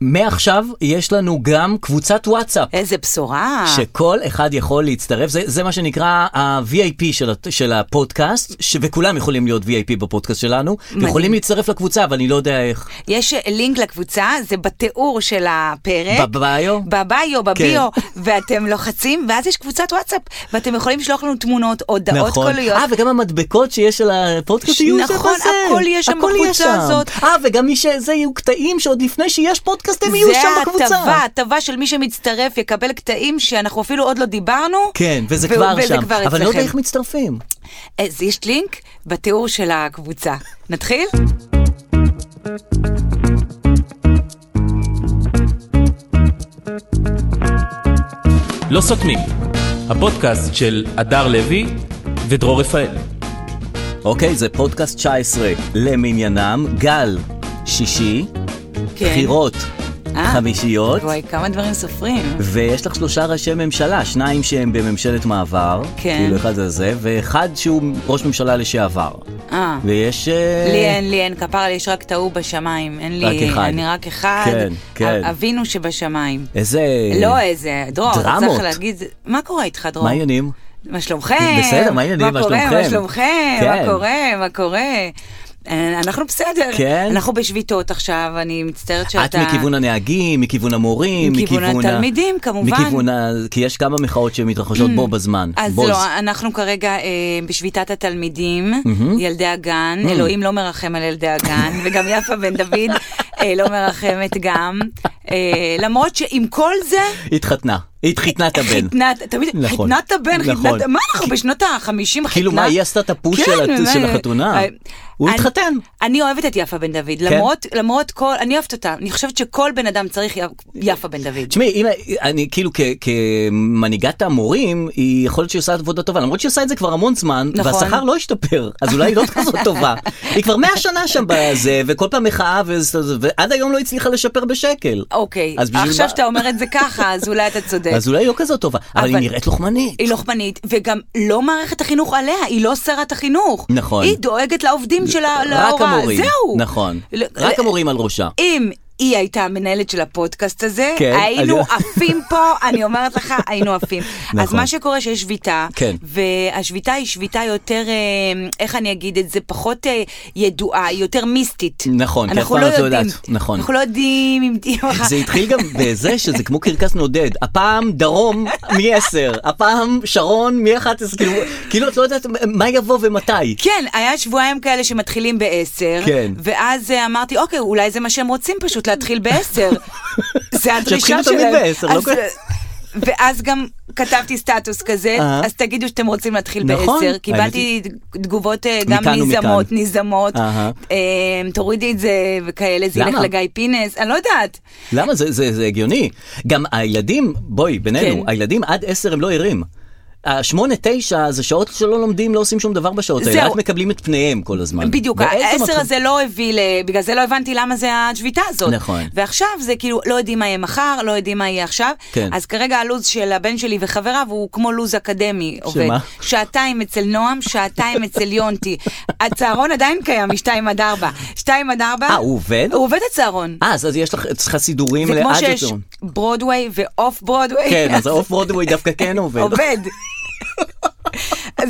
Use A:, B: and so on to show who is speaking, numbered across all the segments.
A: מעכשיו יש לנו גם קבוצת וואטסאפ.
B: איזה בשורה.
A: שכל אחד יכול להצטרף, זה, זה מה שנקרא ה-VIP של, ה- של הפודקאסט, ש, וכולם יכולים להיות VIP בפודקאסט שלנו,
B: מדהים.
A: יכולים להצטרף לקבוצה, אבל אני לא יודע איך.
B: יש לינק לקבוצה, זה בתיאור של הפרק.
A: בביו?
B: בביו, בביו,
A: כן.
B: ואתם לוחצים, ואז יש קבוצת וואטסאפ, ואתם יכולים לשלוח לנו תמונות, הודעות קוליות.
A: אה, וגם המדבקות שיש על הפודקאסט
B: ש-
A: יהיו שם
B: נכון,
A: בזה.
B: הכל יהיה שם
A: הכל יהיה
B: בקבוצה
A: שם.
B: הזאת.
A: אה, וגם מי שזה יהיו קטעים שעוד לפני שיש פודקאסט הם יהיו שם בקבוצה.
B: זה ההטבה, הטבה של מי שמצטרף יקבל קטעים שאנחנו אפילו עוד לא דיברנו.
A: כן, וזה
B: ו-
A: כבר
B: וזה
A: שם.
B: כבר
A: אבל אני לא יודע איך
B: אצלכם.
A: מצטרפים.
B: אז יש לינק בתיאור של הקבוצה. נתחיל?
C: לא סותמים, הפודקאסט של הדר לוי ודרור רפאל.
A: אוקיי, זה פודקאסט 19 למניינם, גל שישי,
B: כן.
A: בחירות
B: אה.
A: חמישיות,
B: וואי, כמה דברים סופרים.
A: ויש לך שלושה ראשי ממשלה, שניים שהם בממשלת מעבר,
B: כן.
A: כאילו אחד זה זה, ואחד שהוא ראש ממשלה לשעבר.
B: אה.
A: ויש... אה,
B: לי אין, לי אין, כפר לי, יש רק את ההוא בשמיים. אין לי,
A: רק אחד.
B: אני רק אחד.
A: כן, כן.
B: א- אבינו שבשמיים.
A: איזה...
B: לא איזה, דרור, אתה
A: דרמות.
B: צריך להגיד, מה קורה איתך, דרור?
A: מה העניינים?
B: מה שלומכם?
A: בסדר, מה העניינים? מה
B: קורה?
A: שלומכם?
B: מה שלומכם?
A: כן.
B: מה קורה? מה קורה? אה, אנחנו בסדר.
A: כן.
B: אנחנו בשביתות עכשיו, אני מצטערת שאתה...
A: את מכיוון הנהגים, מכיוון המורים,
B: מכיוון
A: ה-
B: התלמידים, כמובן. Mm.
A: מכיוון ה... כי יש כמה מחאות שמתרחשות בו בזמן.
B: אז
A: בו ז-
B: לא, אנחנו כרגע אה, בשביתת התלמידים, ילדי הגן, אלוהים לא מרחם על ילדי הגן, וגם יפה בן דוד אה, לא מרחמת גם. אה, למרות שעם כל זה,
A: התחתנה, היא חיתנה את הבן.
B: חיתנת, תמיד,
A: נכון.
B: חיתנת בן,
A: נכון.
B: חיתנת, מה אנחנו בשנות ה-50 חיתנה?
A: כאילו, מה, היא עשתה את הפוש של הת-
B: מה-
A: של החתונה?
B: כן, אה,
A: הוא
B: אני-
A: התחתן.
B: אני אוהבת את יפה בן
A: כן?
B: דוד, למרות, למרות כל, אני אוהבת אותה, אני חושבת שכל בן אדם צריך י- יפה בן דוד.
A: תשמעי, אם אני כאילו כ- כמנהיגת המורים, היא יכול להיות שהיא עושה עבודה טובה, למרות שהיא עושה את זה כבר המון זמן,
B: נכון.
A: והשכר לא השתפר, אז אולי היא לא כזאת טובה. היא כבר מאה שנה שם בזה, וכל פעם מחאה, וזה- ועד היום לא הצליחה לשפר בשקל.
B: אוקיי,
A: אז בשביל
B: עכשיו
A: מה-
B: שאתה אומר את זה ככה, אז אולי אתה צודק.
A: אז אולי היא לא כזאת טובה, אבל היא
B: אבל-
A: נראית לוחמנית.
B: היא לוחמנית, וגם לא מערכת החינוך עליה, היא לא שרת החינוך.
A: נכון.
B: היא דואגת לעובדים שלה,
A: רק
B: להוראה,
A: המורים,
B: לא זהו. לא,
A: נכון,
B: ל-
A: רק
B: ל-
A: המורים על ראשה.
B: אם היא הייתה המנהלת של הפודקאסט הזה,
A: כן,
B: היינו
A: אני-
B: עפים פה, אני אומרת לך, היינו עפים. אז
A: נכון.
B: מה שקורה שיש שביתה,
A: כן.
B: והשביתה היא שביתה יותר, אה, איך אני אגיד את זה, פחות אה, ידועה, היא יותר מיסטית.
A: נכון, כי אף
B: אנחנו
A: פעם
B: לא
A: את לא
B: יודעים.
A: יודעת, נכון.
B: אנחנו לא יודעים אם תהיה מחר.
A: זה התחיל גם בזה שזה כמו קרקס נודד, הפעם דרום מ-10, הפעם שרון מ-11, כאילו, כאילו את לא יודעת מה יבוא ומתי.
B: כן, היה שבועיים כאלה שמתחילים בעשר,
A: כן.
B: ואז אה, אמרתי, אוקיי, אולי זה מה שהם רוצים פשוט, להתחיל בעשר. זה
A: שיתחילו
B: הדרישה שלהם.
A: תמיד בעשר, לא
B: אז,
A: כל-
B: אה, ואז גם כתבתי סטטוס כזה,
A: אהה.
B: אז תגידו שאתם רוצים להתחיל
A: אה. נכון,
B: בעשר. קיבלתי תגובות אה, גם
A: מכאן ומכאן.
B: נזמות, נזמות,
A: אהה.
B: אה, תורידי את זה וכאלה, זה
A: למה?
B: ילך לגיא פינס, אני לא יודעת.
A: למה זה, זה, זה הגיוני? גם הילדים, בואי, בינינו,
B: כן.
A: הילדים עד 10 הם לא ערים. השמונה, תשע, זה שעות שלא לומדים, לא עושים שום דבר בשעות האלה,
B: זהו.
A: רק מקבלים את פניהם כל הזמן.
B: בדיוק,
A: בעצם
B: העשר
A: מתחיל-
B: הזה לא הביא, ל- בגלל זה לא הבנתי למה זה השביתה הזאת.
A: נכון.
B: ועכשיו זה כאילו, לא יודעים מה יהיה מחר, לא יודעים מה יהיה עכשיו.
A: כן.
B: אז כרגע הלו"ז של הבן שלי וחבריו הוא כמו לו"ז אקדמי עובד.
A: שמה?
B: שעתיים אצל נועם, שעתיים אצל יונתי. הצהרון עדיין קיים משתיים עד ארבע. שתיים עד ארבע.
A: אה, הוא עובד?
B: הוא עובד הצהרון.
A: אה, אז אז יש לך, צריכה סידורים
B: זה
A: לעד
B: כמו
A: יותר.
B: שיש ברודוויי ואוף ברודוויי.
A: כן, אז האוף ברודווי דווקא כן עובד.
B: עובד.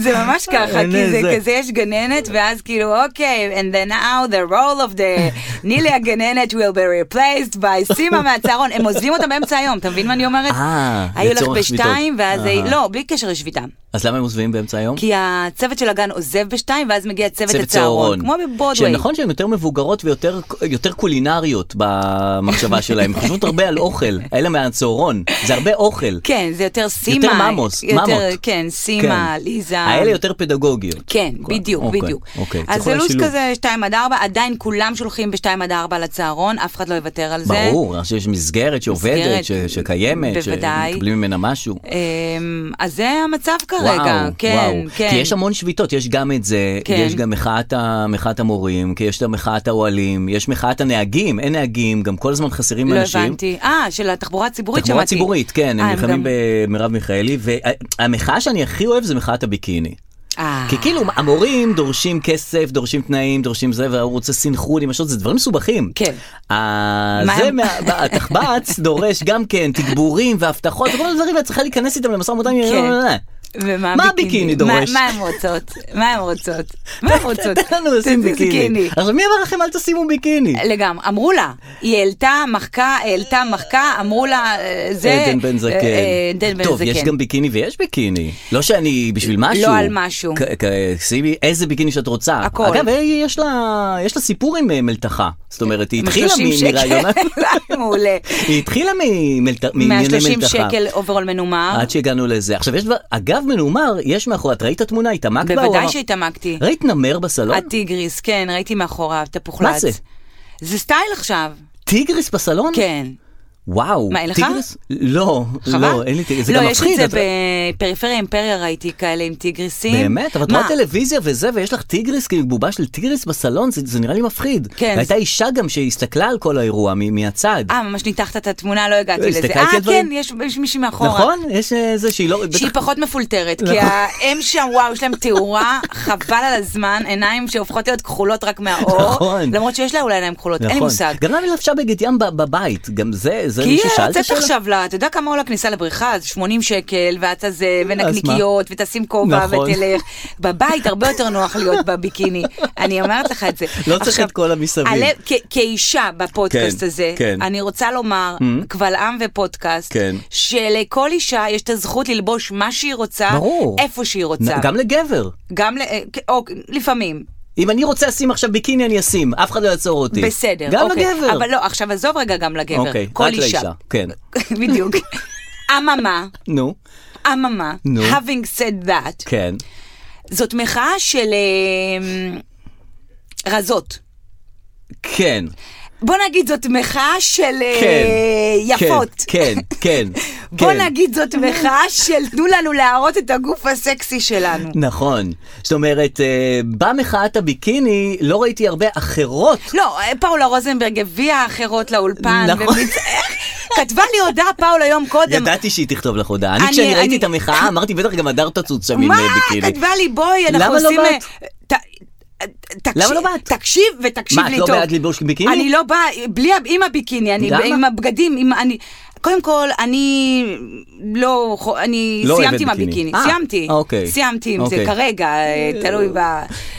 B: זה ממש ככה,
A: אה, אין
B: כי זה
A: זה.
B: כזה, יש גננת, ואז כאילו, אוקיי, and then now the role of the נילי הגננת will be replaced by סימה מהצהרון. הם עוזבים אותם באמצע היום, אתה מבין מה אני אומרת?
A: אה,
B: היו לך
A: לצורך שביתות.
B: בשתיים, ואז,
A: אהה.
B: לא, בלי קשר לשביתה.
A: אז למה הם עוזבים באמצע היום?
B: כי הצוות של הגן עוזב בשתיים, ואז מגיע צוות
A: צוות
B: הצהרון.
A: צהרון. כן, נכון?
B: כמו בברודוויי.
A: שנכון שהן יותר מבוגרות ויותר יותר קולינריות במחשבה שלהן, הן חושבות הרבה על אוכל, אלה מהצהרון, זה הרבה אוכל.
B: כן, זה יותר סימה.
A: ממוס, ממות.
B: כן, סימה,
A: כן.
B: ליזה.
A: האלה יותר פדגוגיות.
B: כן,
A: כל-
B: בדיוק,
A: אוקיי,
B: בדיוק.
A: אוקיי,
B: אז
A: צריך
B: זה לו"ז
A: שילוב.
B: כזה 2 עד 4, עדיין כולם שולחים ב-2 עד 4 לצהרון, אף אחד לא יוותר על זה.
A: ברור, אז שיש מסגרת שעובדת,
B: מסגרת,
A: ש- שקיימת,
B: בוודאי.
A: שמקבלים ממנה משהו.
B: אמ, אז זה המצב כרגע,
A: וואו,
B: כן,
A: וואו.
B: כן.
A: כי יש המון שביתות, יש גם את זה,
B: כן.
A: יש גם מחאת, ה- מחאת המורים, כי יש את מחאת האוהלים, יש מחאת הנהגים, אין נהגים, גם כל הזמן חסרים
B: לא
A: אנשים.
B: הבנתי. אה, של התחבורה הציבורית שמעתי.
A: תחבורה ציבורית, כן,
B: אה,
A: הם נלחמים
B: גם-
A: במרב מיכאלי, והמחאה שאני הכי אוהב זה מחאת הביקיני.
B: אה.
A: כי כאילו המורים דורשים כסף, דורשים תנאים, דורשים זה, והוא רוצה סינכרון עם השעות, זה דברים מסובכים.
B: כן.
A: אה,
B: מה
A: זה
B: הם-
A: מה- התחבץ דורש גם כן תגבורים והבטחות, וכל הדברים, ואת צריכה להיכנס איתם למשא ומתן.
B: כן. ומה
A: מה
B: הביקיני?
A: הביקיני
B: מה-
A: דורש?
B: מה הן רוצות? מה הן רוצות? מה הן רוצות?
A: תן לנו לשים ביקיני. עכשיו מי אמר לכם אל תשימו ביקיני?
B: לגמרי, אמרו לה, היא העלתה, מחקה, העלתה, מחקה, אמרו לה, אה, זה...
A: עדן בן זקן.
B: אה, אה, עדן בן
A: טוב,
B: זקן.
A: יש גם ביקיני ויש ביקיני. לא שאני בשביל משהו.
B: לא על משהו.
A: כ- כ- שימי איזה ביקיני שאת רוצה.
B: הכל.
A: אגב, היא- יש לה, יש לה סיפור עם אה, מלתחה. זאת אומרת, היא
B: עם
A: התחילה
B: 30
A: מ-
B: שקל. לא,
A: מרעיונות.
B: מעולה.
A: היא התחילה ממלת- מענייני מלתחה.
B: מה-30 שקל אוברול מנומר.
A: עד שהגענו לזה. עכשיו, יש דבר, אגב, מנומר, יש מאחורי, את ראית תמונה, התעמקת בה?
B: בוודאי
A: או-
B: שהתעמקתי.
A: ראית נמר בסלון?
B: הטיגריס, כן, ראיתי מאחוריו, תפוחלץ.
A: לא. מה זה?
B: זה סטייל עכשיו.
A: טיגריס בסלון?
B: כן.
A: וואו.
B: מה, אין לך?
A: טיגריס? לא,
B: חבל.
A: לא, אין לי טיגריס. זה
B: לא,
A: גם מפחיד.
B: יש את
A: את-
B: זה בפריפריה אימפריה ראיתי כאלה עם טיגריסים.
A: באמת? אבל את
B: מה?
A: רואה טלוויזיה וזה, ויש לך טיגריס, כאילו בובה של טיגריס בסלון, זה, זה נראה לי מפחיד.
B: כן.
A: והייתה אישה גם שהסתכלה על כל האירוע מ- מהצד.
B: אה, ממש ניתחת את התמונה, לא הגעתי לזה.
A: הסתכלתי
B: אה,
A: על
B: כן,
A: דברים.
B: יש יש מישהי מאחורה.
A: נכון? יש איזה שהיא לא...
B: שהיא
A: בטח- נכון.
B: פחות מפולטרת, כי הם שם, וואו, יש להם תאורה, חבל על הזמן, עיניים שהופכות להיות כחולות רק מהאור.
A: נכון.
B: למרות שיש לה אולי עיניים כחולות, אין לי
A: נכון.
B: מושג.
A: גם למה היא לבשה בגד ים בב- בבית? גם זה, זה
B: כי היא
A: מישהו שאל את
B: יוצאת
A: השאלה?
B: עכשיו לה, אתה יודע כמה עולה כניסה לבריכה? אז 80 שקל, ואתה זה, ונקניקיות, ותשים כובע,
A: נכון.
B: ותלך. בבית הרבה יותר נוח להיות בביקיני, אני אומרת לך את זה.
A: לא צריך
B: עכשיו,
A: את כל המסביב.
B: הלב- כ- כאישה בפודקאסט
A: כן,
B: הזה,
A: כן. Hmm?
B: אני רוצה לומר, קבל עם ופודקאסט,
A: כן.
B: שלכל אישה יש את הזכות ללבוש מה שהיא רוצה,
A: ברור.
B: איפה שהיא רוצה.
A: גם לגבר.
B: גם ל... או, לפעמים,
A: אם אני רוצה לשים עכשיו ביקיני, אני אשים, אף אחד לא יעצור אותי.
B: בסדר.
A: גם
B: אוקיי.
A: לגבר.
B: אבל לא, עכשיו עזוב רגע גם לגבר.
A: אוקיי,
B: כל
A: רק
B: אישה.
A: לאישה. כן.
B: בדיוק. אממה,
A: נו,
B: אממה,
A: נו.
B: having said that,
A: כן.
B: זאת מחאה של אמ, רזות.
A: כן.
B: בוא נגיד זאת מחאה של אה,
A: כן.
B: יפות.
A: כן, כן.
B: בוא
A: כן.
B: נגיד זאת מחאה של תנו לנו להראות את הגוף הסקסי שלנו.
A: נכון. זאת אומרת, אה, במחאת הביקיני לא ראיתי הרבה אחרות.
B: לא, פאולה רוזנברג הביאה אחרות לאולפן.
A: נכון.
B: ומצ- איך? כתבה לי הודעה פאולה יום קודם,
A: ידעתי שהיא תכתוב לך הודעה. אני
B: אני-
A: כשאני ראיתי
B: אני-
A: את המחאה אמרתי בטח גם הדר תצוץ שם עם
B: מה?
A: אה, ביקיני.
B: כתבה לי בואי, אנחנו
A: למה לא
B: עושים...
A: באת?
B: אה, ת- תקשיב-
A: למה לא באת?
B: תקשיב ותקשיב
A: מה, את
B: לי
A: לא
B: טוב.
A: בעד ללבוש ביקיני?
B: אני לא באה, בלי, ה- עם הביקיני, אני,
A: למה?
B: עם הבגדים, עם, אני... קודם כל, אני לא, חו- אני
A: לא אוהבת
B: סיימתי עם
A: ביקיני.
B: הביקיני,
A: אה,
B: סיימתי,
A: אוקיי.
B: סיימתי עם זה
A: אוקיי.
B: כרגע, אה, תלוי ב,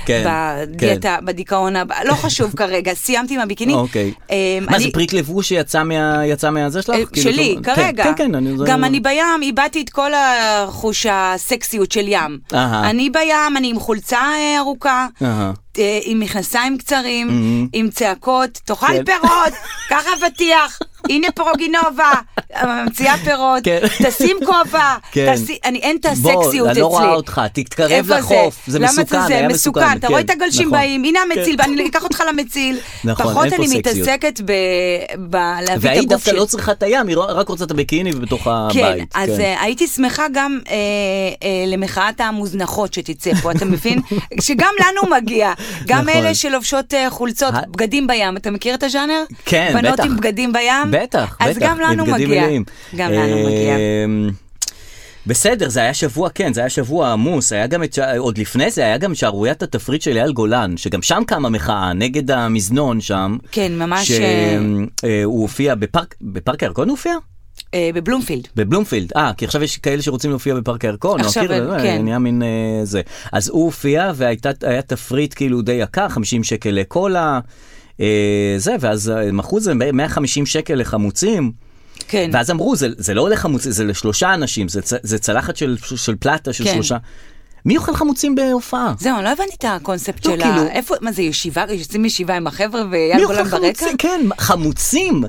A: כן,
B: בדיאטה, בדיכאון, הבא, לא חשוב כרגע, סיימתי עם הביקיני.
A: אוקיי.
B: אה,
A: מה,
B: אני-
A: זה פריט לבוש שיצא מה- יצא מהזה שלך?
B: אה,
A: כאילו,
B: שלי,
A: טוב,
B: כרגע.
A: כן, כן, אני... זה-
B: גם אני בים, איבדתי את כל החוש הסקסיות של ים.
A: אהה.
B: אני בים, אני עם חולצה אה, ארוכה,
A: אהה.
B: אה, עם מכנסיים קצרים, עם צעקות, תאכל
A: Mm-hmm. כן.
B: פירות, קח אבטיח, הנה פרוגינובה, ממציאה פירות,
A: כן.
B: תשים כובע,
A: כן.
B: תשי- אני- אין את
A: בוא,
B: הסקסיות
A: אני
B: אצלי.
A: לא רואה אותך, תתקרב
B: איפה
A: לחוף, זה
B: למה
A: מסוכן,
B: זה
A: היה
B: מסוכן, אתה רואה את
A: כן,
B: הגלשים
A: נכון.
B: באים, הנה המציל,
A: כן.
B: ואני אקח אותך למציל.
A: נכון,
B: פחות
A: אין פה
B: אני
A: סקסיות.
B: מתעסקת ב... ב... להביא את
A: והיא
B: הגוף
A: דווקא
B: שלי.
A: לא צריכה את הים, היא רק רוצה את הביקיני ובתוך הבית.
B: כן, אז אה, הייתי שמחה גם אה, אה, למחאת המוזנחות שתצא פה, אתה מבין? שגם לנו מגיע, גם
A: נכון.
B: אלה שלובשות אה, חולצות,
A: ה-
B: בגדים בים, אתה מכיר את הז'אנר?
A: כן,
B: בנות
A: בטח.
B: עם בגדים בים?
A: בטח, בטח.
B: אז גם לנו
A: בבגדים
B: מגיע.
A: מלאים.
B: גם לנו מגיע.
A: אמ, בסדר, זה היה שבוע, כן, זה היה שבוע עמוס, היה גם את, ש- עוד לפני זה היה גם שערוריית התפריט של אייל גולן, שגם שם קמה מחאה נגד המזנון שם.
B: כן, ממש, אה,
A: שהוא הופיע בפארק, בפארק הירקון הוא הופיע?
B: אה, בבלומפילד.
A: בבלומפילד, אה, כי עכשיו יש כאלה שרוצים להופיע בפארק הירקון,
B: עכשיו,
A: או כאילו,
B: אה,
A: אה,
B: כן.
A: נהיה מין אה, זה. אז הוא הופיע והיה תפריט כאילו די יקר, 50 שקל לקולה, אה, זה, ואז אה, מכרו את זה, 150 שקל לחמוצים.
B: כן.
A: ואז אמרו, זה, זה לא הולך חמוצים, זה לשלושה אנשים, זה, צ- זה צלחת של, של פלטה של
B: כן.
A: שלושה. מי אוכל חמוצים בהופעה?
B: זהו, אני לא הבנתי את הקונספט
A: לא,
B: של
A: כאילו-
B: ה... איפה, מה זה, ישיבה? יוצאים ישיבה עם החבר'ה
A: מי
B: ואייל
A: אוכל
B: גולן ברקע?
A: חמוצים? כן, חמוצים.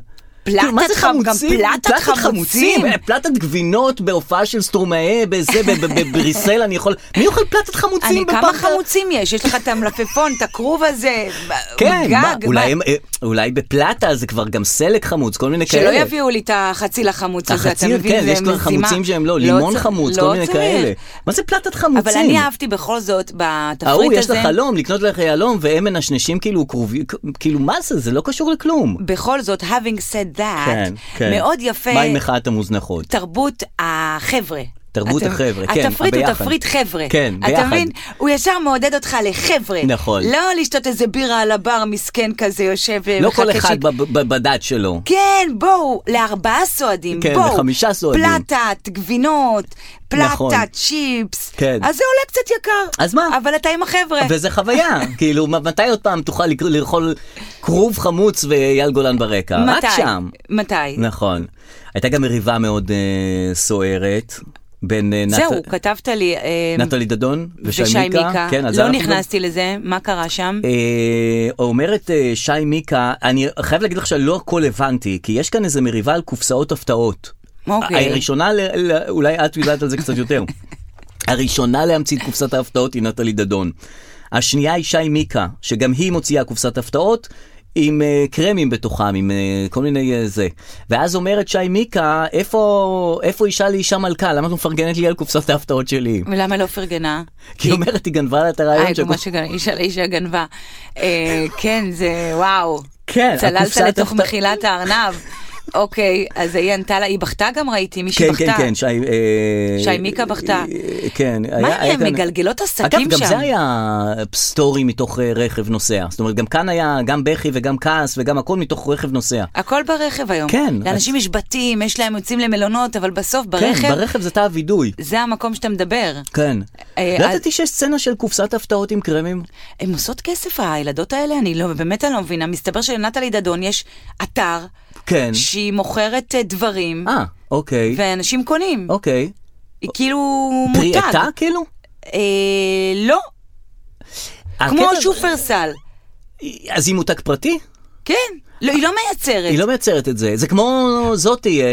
B: פלטת
A: כאילו, מה זה
B: חמ- גם פלטת חמוצים.
A: אה, פלטת גבינות בהופעה של סטרומאה, בזה, ב- ב- בבריסל, אני יכול... מי אוכל פלטת חמוצים
B: אני,
A: בפארק?
B: כמה חמוצים יש? יש לך את המלפפון, את הכרוב הזה,
A: כן,
B: גג.
A: מה, אולי, הם, אה, אולי בפלטה זה כבר גם סלק חמוץ, כל מיני
B: שלא
A: כאלה.
B: יביאו לי את החציל החמוץ הזה, אתה
A: החציר,
B: מבין?
A: כן,
B: זה
A: יש כבר
B: מזימה.
A: חמוצים שהם לא,
B: לא
A: לימון
B: צר-
A: חמוץ,
B: לא
A: כל מיני
B: צריך.
A: כאלה. מה זה פלטת חמוצים?
B: אבל אני אהבתי בכל זאת בתפריט הזה.
A: ההוא יש לה חלום לקנות לך יהלום והם מנשנשים כאילו כרובי, כאילו מה זה זה לא קשור לכלום. כן,
B: בכל זאת, having said that, מאוד יפה,
A: מה עם מחאת המוזנחות?
B: תרבות החבר'ה.
A: תרבות
B: אתם-
A: החבר'ה, כן,
B: התפריט הוא
A: הביחד.
B: תפריט חבר'ה.
A: כן,
B: אתה
A: ביחד.
B: מבין? הוא ישר מעודד אותך לחבר'ה.
A: נכון.
B: לא לשתות איזה בירה על הבר מסכן כזה יושב
A: לא
B: ומחכה
A: כל אחד
B: ש-
A: ב- ב- בדת שלו.
B: כן, בואו, לארבעה סועדים,
A: כן,
B: בואו.
A: לחמישה סועדים.
B: פלטת, גבינות, פלטת,
A: נכון.
B: צ'יפס.
A: כן.
B: אז זה עולה קצת יקר.
A: אז מה?
B: אבל אתה עם החבר'ה.
A: וזה חוויה, כאילו, מ- מתי עוד פעם תוכל לק- לאכול כרוב חמוץ ואייל גולן ברקע? רק
B: מתי?
A: שם.
B: מתי?
A: נכון. הייתה גם מריבה מאוד אה, סוערת בין אה, נת-
B: זהו, כתבת לי... אה,
A: נטלי דדון ושי
B: ושי
A: מיקה.
B: מיקה.
A: כן, על זה
B: לא
A: אנחנו גם-
B: נכנסתי לזה, מה קרה שם?
A: אה, אומרת אה, שי מיקה, אני חייב להגיד לך שלא הכל הבנתי, כי יש כאן איזה מריבה על קופסאות הפתעות.
B: אוקיי.
A: הראשונה, ל- ל- אולי את יודעת על זה קצת יותר. הראשונה להמציא את קופסת ההפתעות היא נטלי דדון. השנייה היא שי מיקה, שגם היא מוציאה קופסת הפתעות. עם אה, קרמים בתוכם, עם אה, כל מיני אה, זה. ואז אומרת שי מיקה, איפה, איפה אישה לאישה מלכה? למה את מפרגנת לי על קופסת ההפתעות שלי?
B: ולמה לא פרגנה?
A: כי היא אומרת, היא גנבה לה את הרעיון
B: איי,
A: של
B: כמו שאישה לאישה גנבה. אה, כן, זה וואו.
A: כן,
B: צללת
A: הקופסת
B: לתוך
A: הפת-
B: מחילת הארנב. אוקיי, אז היא ענתה לה, היא בכתה גם ראיתי, מישהי
A: כן,
B: בכתה.
A: כן, כן, שי... אה,
B: שי מיקה בכתה.
A: אה, כן.
B: מה
A: היה- היה
B: הן
A: כאן-
B: מגלגלות
A: אגב,
B: עסקים
A: גם
B: שם?
A: זה היה סטורי מתוך אה, רכב נוסע. זאת אומרת, גם כאן היה גם בכי וגם כעס וגם הכל מתוך רכב נוסע.
B: הכל ברכב היום.
A: כן,
B: לאנשים יש בתים, יש להם, יוצאים למלונות, אבל בסוף
A: כן,
B: ברכב,
A: ברכב זה תא הווידוי.
B: זה המקום שאתה מדבר.
A: כן.
B: אה,
A: לא
B: אז-
A: ידעתי שיש סצנה של קופסת הפתעות עם קרמים.
B: הן עושות כסף, הילדות האלה? אני לא, באמת אני לא מבינה. מסתבר שלנטלי דדון יש אתר,
A: כן.
B: שהיא מוכרת אה, דברים,
A: אה, אוקיי.
B: ואנשים קונים.
A: אוקיי.
B: היא כאילו מותג.
A: פריעתה כאילו?
B: אה, לא, כמו
A: הקטע-
B: שופרסל.
A: אז היא מותג פרטי?
B: כן, לא, היא לא מייצרת.
A: היא לא מייצרת את זה. זה כמו זאתי, אה,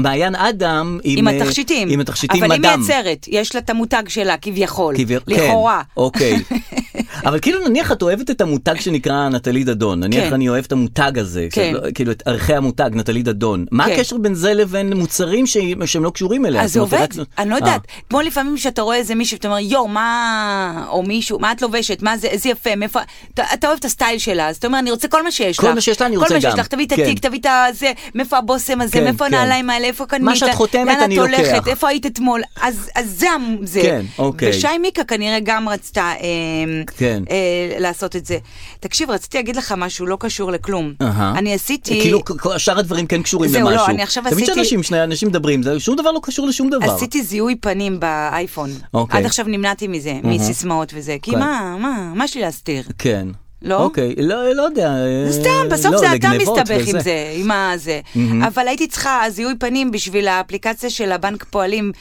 A: מעיין אדם
B: עם
A: אה,
B: התכשיטים.
A: עם התכשיטים
B: אבל היא
A: מדם.
B: מייצרת, יש לה את המותג שלה, כביכול.
A: כביכול,
B: לכאורה.
A: כן, אוקיי. אבל כאילו נניח את אוהבת את המותג שנקרא נטלי דדון, נניח
B: כן.
A: אני אוהב את המותג הזה,
B: כן.
A: שאת לא- כאילו את ערכי המותג נטלי דדון, מה
B: כן.
A: הקשר בין זה לבין מוצרים ש- שהם לא קשורים אליה?
B: אז זה
A: זאת אומרת,
B: עובד,
A: רק-
B: אני לא
A: אה,
B: יודעת, כמו לפעמים שאתה רואה איזה מישהו, אתה אומר, יואו, מה, או מישהו, מה את לובשת, מה זה, איזה יפה, מאיפה, אתה, אתה אוהב את הסטייל שלה, אז אתה אומר, אני רוצה כל מה שיש
A: כל
B: לך.
A: מה שיש לה אני רוצה
B: כל מה שיש
A: גם.
B: לך, תביא את
A: כן.
B: התיק, תביא את הזה, מאיפה הבושם הזה,
A: כן,
B: מאיפה
A: כן.
B: הנעליים האלה, איפה קנית,
A: שאת חותמת,
B: לאן את
A: אני לוקח.
B: הולכת, איפה היית אתמול, אז, אז זה, המ- זה.
A: כן, אוקיי.
B: ושי מיקה כנראה גם רצתה אה,
A: כן.
B: אה, לעשות את זה. תקשיב, רציתי להגיד לך משהו, לא קשור לכלום.
A: אהה.
B: אני עשיתי...
A: כאילו כל- שאר הדברים כן קשורים
B: זהו,
A: למשהו.
B: לא, אני עכשיו
A: תמיד
B: עשיתי-
A: שאנשים, שני אנשים מדברים, זה- שום דבר לא קשור לשום דבר.
B: עשיתי זיהוי פנים באייפון.
A: אוקיי.
B: עד עכשיו נמנעתי מזה, מסיסמאות וזה. כי
A: כן.
B: מה, מה, מה יש לי להסתיר?
A: כן.
B: לא?
A: אוקיי, לא לא יודע. אה,
B: סתם, בסוף
A: לא,
B: זה אתה
A: לגנבות
B: מסתבך
A: וזה.
B: עם זה, עם הזה. אבל הייתי צריכה זיהוי פנים בשביל האפליקציה של הבנק פועלים.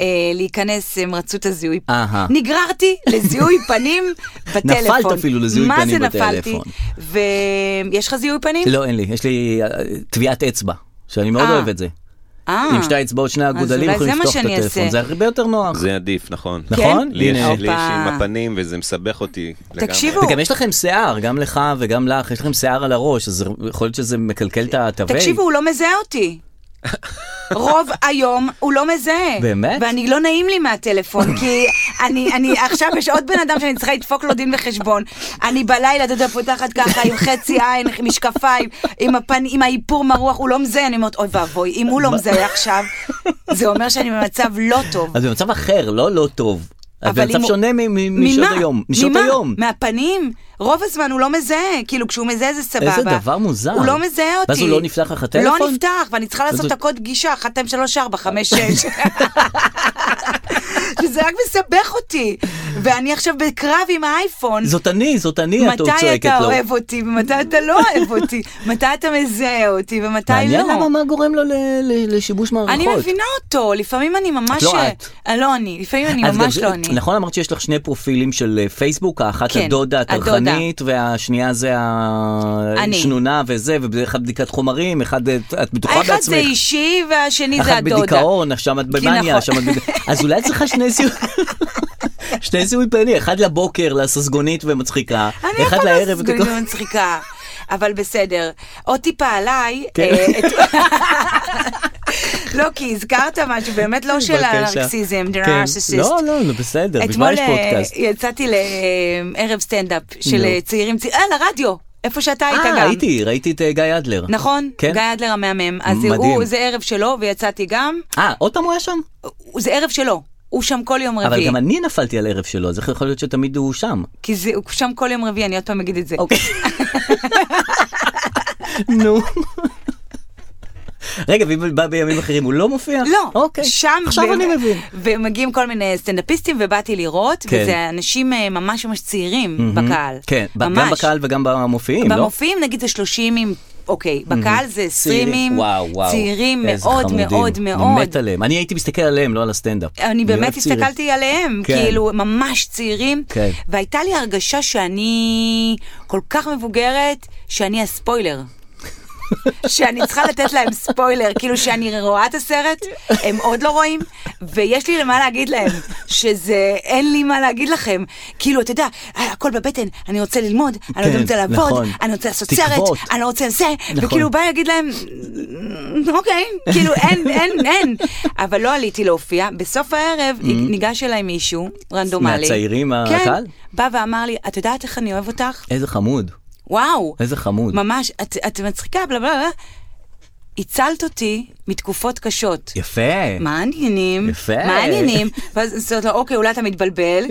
B: אה, להיכנס, הם רצו את הזיהוי.
A: אהה.
B: נגררתי לזיהוי פנים בטלפון.
A: אפילו לזיהוי פנים
B: מה זה נפלתי?
A: בטלפון.
B: ויש לך זיהוי פנים?
A: לא, אין לי, יש לי אה, טביעת אצבע, שאני מאוד
B: אה.
A: אוהב את זה.
B: אה.
A: עם שתי האצבעות, שני הגודלים,
B: אולי
A: יכולים
B: זה מה
A: לפתוח את
B: שאני
A: הטלפון,
B: אעשה.
A: זה הרבה יותר נוח.
D: זה עדיף, נכון.
B: כן?
A: נכון?
D: לי יש
A: הנה.
D: לי יש עם
B: הופה.
D: הפנים וזה מסבך אותי לגמרי.
B: תקשיבו.
A: וגם יש לכם שיער, גם לך וגם לך, יש לכם שיער על הראש, אז יכול להיות שזה מקלקל את התווי.
B: תקשיבו, הוא לא מזהה אותי. רוב היום הוא לא מזהה.
A: באמת?
B: ואני לא נעים לי מהטלפון, כי אני, אני, עכשיו יש עוד בן אדם שאני צריכה לדפוק לו דין וחשבון. אני בלילה, אתה יודע, פותחת ככה עם חצי עין, עם משקפיים, עם, הפן, עם האיפור מרוח, הוא לא מזהה, אני אומרת, אוי ואבוי, אם הוא לא מזהה עכשיו, זה אומר שאני במצב לא טוב.
A: אז במצב אחר, לא לא טוב. אז
B: אבל אם
A: במצב
B: הוא-
A: שונה מ- מ- משעות
B: ממה?
A: היום. משעות
B: ממה?
A: היום.
B: מהפנים? רוב הזמן הוא לא מזהה, כאילו כשהוא מזהה זה סבבה.
A: איזה דבר מוזר.
B: הוא לא מזהה אותי.
A: ואז הוא לא נפתח לך הטלפון?
B: לא נפתח, ואני צריכה לעשות
A: אז
B: את
A: הוא-
B: הקוד גישה, 1, 2, 3, 4, 5, 6. שזה רק מסבך אותי. ואני עכשיו בקרב עם האייפון.
A: זאת אני, זאת אני, את עוד
B: מתי
A: צועקת
B: אתה
A: לו.
B: אוהב אותי ומתי אתה לא אוהב אותי, מתי אתה מזהה אותי ומתי
A: מעניין
B: לא.
A: למה, מה גורם לו ל- ל- לשיבוש מערכות.
B: אני מבינה אותו, לפעמים אני ממש...
A: לא את.
B: אה, לא אני, לפעמים אני
A: אז גם
B: ממש
A: זה-
B: לא אני.
A: נכון אמרת שיש לך שני פרופילים של אה, פייסבוק, האחת
B: כן,
A: הדודה
B: הדודה.
A: הטרחנית, והשנייה זה
B: אני.
A: השנונה וזה, ואחד בדיקת חומרים, אחד אה, את בטוחה בעצמך.
B: אחד זה אישי והשני זה
A: אחת
B: הדודה.
A: בדיכאון, שם את במאניה,
B: נכון.
A: שם את בדיכאון. אז אולי את צריכה שני זיהוי... שני זיהוי פני, אחד לבוקר, לססגונית ומצחיקה,
B: אני
A: אחד
B: אף פעם
A: לערב.
B: לא סגנית
A: וכל-
B: מצחיקה, אבל בסדר. עוד טיפה עליי.
A: כן.
B: אה, את- לא, כי הזכרת משהו, באמת לא של
A: בבקשה.
B: הנרקסיזם, the
A: כן.
B: narcissist.
A: לא, לא, לא, בסדר, בשביל מה
B: אתמול
A: יש
B: אה,
A: פודקאסט?
B: יצאתי לערב סטנדאפ של
A: נו.
B: אה, צעירים, צעיר- אה, לרדיו. איפה שאתה היית גם.
A: אה, הייתי, ראיתי את אה, גיא אדלר.
B: נכון?
A: כן.
B: גיא אדלר המהמם. אז
A: מדהים.
B: הוא, זה ערב שלו, ויצאתי גם.
A: אה, עוד פעם הוא היה שם?
B: הוא- זה ערב שלו. הוא שם כל יום רביעי.
A: אבל גם אני נפלתי על ערב שלו, אז איך יכול להיות שתמיד הוא שם?
B: כי זה, הוא שם כל יום רביעי, אני עוד פעם אגיד את זה.
A: אוקיי. נו. רגע, ואם הוא בא בימים אחרים הוא לא מופיע?
B: לא,
A: אוקיי.
B: שם,
A: עכשיו
B: ו-
A: אני מבין.
B: ומגיעים כל מיני סטנדאפיסטים, ובאתי לראות,
A: כן.
B: וזה אנשים אה, ממש ממש צעירים בקהל.
A: כן, ב- גם
B: ממש.
A: בקהל וגם במופיעים, לא?
B: במופיעים נגיד זה 30 עם, אוקיי, בקהל זה 20 עם,
A: וואו, וואו.
B: צעירים
A: איזה
B: מאוד
A: חמודים.
B: מאוד
A: אני
B: מאוד.
A: מת עליהם. אני הייתי מסתכל עליהם, לא על הסטנדאפ.
B: אני
A: אוהב
B: באמת
A: צעירים.
B: הסתכלתי עליהם,
A: כן.
B: כאילו, ממש צעירים,
A: כן.
B: והייתה לי הרגשה שאני כל כך מבוגרת, שאני הספוילר. שאני צריכה לתת להם ספוילר, כאילו שאני רואה את הסרט, הם עוד לא רואים, ויש לי למה להגיד להם, שזה, אין לי מה להגיד לכם. כאילו, אתה יודע, הכל בבטן, אני רוצה ללמוד, אני לא
A: כן,
B: רוצה לעבוד,
A: נכון.
B: אני רוצה לעשות
A: תקוות.
B: סרט, אני לא רוצה זה,
A: נכון.
B: וכאילו בא להגיד להם, אוקיי, כאילו אין, אין, אין. אבל לא עליתי להופיע, בסוף הערב ניגש אליי מישהו, רנדומלי.
A: מהצעירים,
B: כן,
A: הקהל?
B: בא ואמר לי, את יודעת איך אני אוהב אותך?
A: איזה חמוד.
B: וואו.
A: איזה חמוד.
B: ממש, את, את מצחיקה, בלה בלה בלה. הצלת אותי מתקופות קשות.
A: יפה.
B: מה העניינים?
A: יפה.
B: מה העניינים? ואז אני אומרת לו, אוקיי, אולי אתה מתבלבל,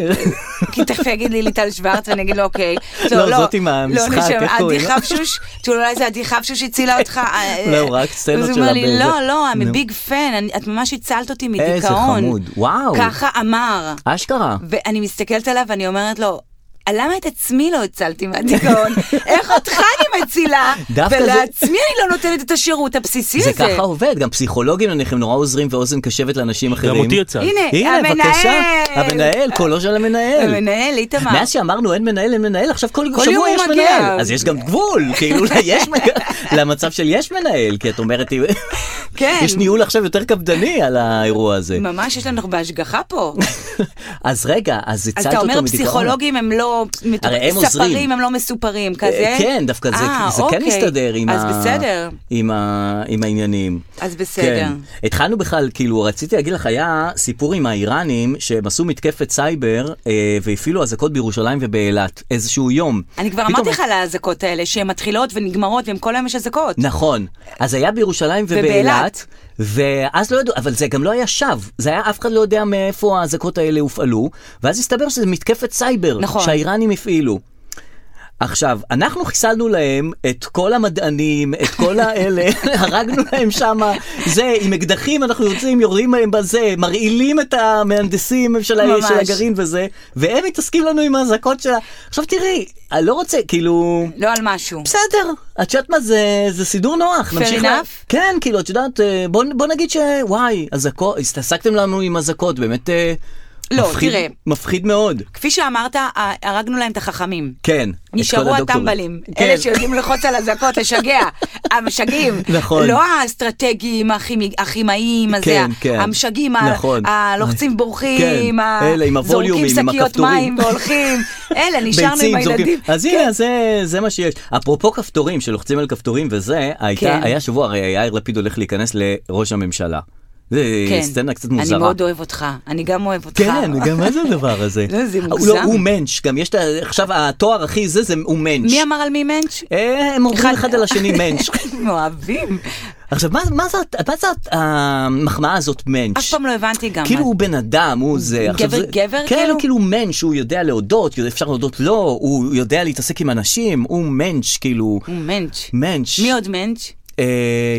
B: כי תכף יגיד לי ליטל שוורץ, ואני אגיד לו, אוקיי.
A: לא,
B: טוב,
A: זאת עם המשחק,
B: לא, נשאר,
A: איך קוראים
B: עדי
A: לו?
B: חבשוש, תראו, אולי זה עדי חבשוש הצילה אותך. אה,
A: אולי הוא
B: אה.
A: רק סצנות
B: אז
A: שלה
B: הוא אומר
A: באיזה-
B: לי, לא, לא, I'm
A: נו.
B: a big fan, אני- את ממש הצלת אותי מדיכאון.
A: איזה חמוד, וואו.
B: ככה אמר.
A: אשכרה.
B: ואני מסתכלת עליו ואני אומרת לו, "אה, למה את עצמי לא הצלתי מהדיכאון? איך אותך אני מצילה?
A: דווקא זה-
B: ולעצמי אני לא נותנת את השירות הבסיסי
A: זה
B: הזה.
A: ככה עובד, גם פסיכולוגים נניח הם נורא עוזרים ואוזן קשבת לאנשים אחרים.
C: גם אותי יצא.
B: הנה,
A: הנה,
B: המנהל.
A: בבקשה, המנהל, קולו של המנהל.
B: המנהל, איתמר.
A: מאז שאמרנו אין מנהל, אין מנהל, עכשיו כל
B: כל יום
A: שבוע
B: הוא
A: יש
B: מגיע.
A: מנהל. אז יש גם גבול, כאילו אולי יש מנהל, למצב של יש מנהל, כי את אומרת,
B: כן.
A: יש ניהול עכשיו יותר קפדני על האירוע הזה.
B: ממש יש לנו אנחנו בהשגחה פה.
A: אז רגע, אז הצלת
B: אז
A: אותו
B: אתה
A: מדיכאון.
B: אומר פסיכולוגים הם לא,
A: הרי הם עוזרים.
B: ספרים הם לא מסופרים כזה?
A: אה, כן, דווקא זה,
B: אה,
A: זה כן
B: אוקיי.
A: מסתדר עם,
B: אז
A: ה...
B: בסדר.
A: עם, ה... עם העניינים.
B: אז בסדר.
A: כן. התחלנו בכלל, כאילו, רציתי להגיד לך, היה סיפור עם האיראנים שהם עשו מתקפת סייבר אה, והפעילו אזעקות בירושלים ובאילת, איזשהו יום.
B: אני כבר
A: פתאום-
B: אמרתי לך על האזעקות האלה, שהן מתחילות ונגמרות והן כל היום יש אזעקות.
A: נכון, אז היה בירושלים ובאילת,
B: ובאילת.
A: ואז לא ידעו, אבל זה גם לא היה שווא, זה היה, אף אחד לא יודע מאיפה האזעקות האלה הופעלו, ואז הסתבר שזה מתקפת סייבר,
B: נכון.
A: שהאיראנים הפעילו. עכשיו, אנחנו חיסלנו להם את כל המדענים, את כל האלה, הרגנו להם שמה, זה, עם אקדחים אנחנו יוצאים, יורים להם בזה, מרעילים את המהנדסים של, ה-
B: ממש.
A: של הגרעין וזה, והם מתעסקים לנו עם האזעקות שלה. עכשיו תראי, אני לא רוצה, כאילו...
B: לא על משהו.
A: בסדר, את יודעת מה, זה, זה סידור נוח.
B: Fair
A: נמשיך
B: enough.
A: לה- כן, כאילו, את יודעת, אה, בוא, בוא נגיד שוואי, אזעקות, הסתעסקתם לנו עם אזעקות, באמת אה,
B: לא,
A: מפחיד,
B: תראה.
A: מפחיד מאוד.
B: כפי שאמרת, ה- הרגנו להם את החכמים.
A: כן. את כל
B: נשארו
A: הדוקטורים.
B: הטמבלים,
A: כן.
B: אלה שיודעים ללחוץ על אזעקות, לשגע, המשגעים,
A: נכון.
B: לא האסטרטגיים, הכימי- הכימאים, הזה,
A: כן, כן.
B: המשגעים, ה-
A: נכון.
B: הלוחצים בורחים,
A: כן,
B: ה-
A: אלה עם הווליומים,
B: זורקים
A: עם
B: שקיות
A: הכפתורים.
B: מים והולכים, אלה, נשארנו עם
A: ביצים זורקים.
B: הילדים. כן.
A: אז הנה, זה- זה מה שיש. אפרופו כפתורים, שלוחצים על כפתורים וזה, הייתה-
B: כן.
A: היה שבוע, הרי יאיר לפיד הולך להיכנס לראש הממשלה. זה
B: כן.
A: סצנה קצת מוזרה.
B: אני מאוד אוהב אותך, אני גם אוהב אותך.
A: כן, גם מה זה הדבר הזה?
B: לא, זה
A: הוא
B: מוגזם.
A: לא, הוא מענץ', גם יש את ה... עכשיו התואר הכי זה, זה הוא מענץ'.
B: מי אמר על מי מענץ'?
A: אה, הם אומרים אחד על השני מענץ'.
B: הם אוהבים.
A: עכשיו, מה- מה זה מה זה המחמאה הזאת מענץ'?
B: אף פעם לא הבנתי גם.
A: כאילו
B: מה-
A: הוא בן אדם, הוא זה. עכשיו
B: גבר-
A: זה-
B: גבר,
A: כן,
B: כאילו?
A: כאילו הוא מענץ', הוא יודע להודות, יודע- אפשר להודות לו, הוא יודע להתעסק עם אנשים, הוא מענץ', כאילו...
B: הוא מענץ'.
A: מענץ'.
B: מי עוד מענץ'?
A: אה,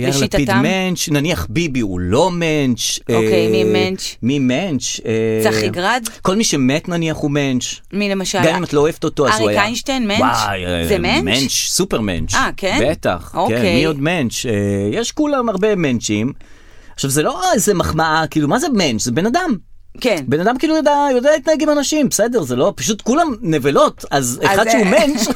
A: יאיר לפיד
B: לשיטתם?
A: מענץ', נניח ביבי הוא לא מענץ'. אה,
B: אוקיי, מי מענץ'?
A: מי מענץ'? אה,
B: צחי גרד?
A: כל מי שמת נניח הוא מענץ'.
B: מי למשל?
A: גם אם את לא אוהבת אותו, אז הוא היה...
B: כן. אריק איינשטיין, מענץ'?
A: וואי,
B: זה
A: אה,
B: מענץ'?
A: מענץ', סופר מענץ'.
B: אה, כן?
A: בטח, כן.
B: אוקיי.
A: מי עוד מענץ'? אה, יש כולם הרבה מענצ'ים. עכשיו, זה לא איזה מחמאה, כאילו, מה זה מענץ'? זה בן אדם.
B: כן.
A: בן אדם כאילו יודע, יודע להתנהג עם אנשים, בסדר, זה לא, פשוט כולם נבלות, אז אחד
B: אה,
A: שהוא מענץ',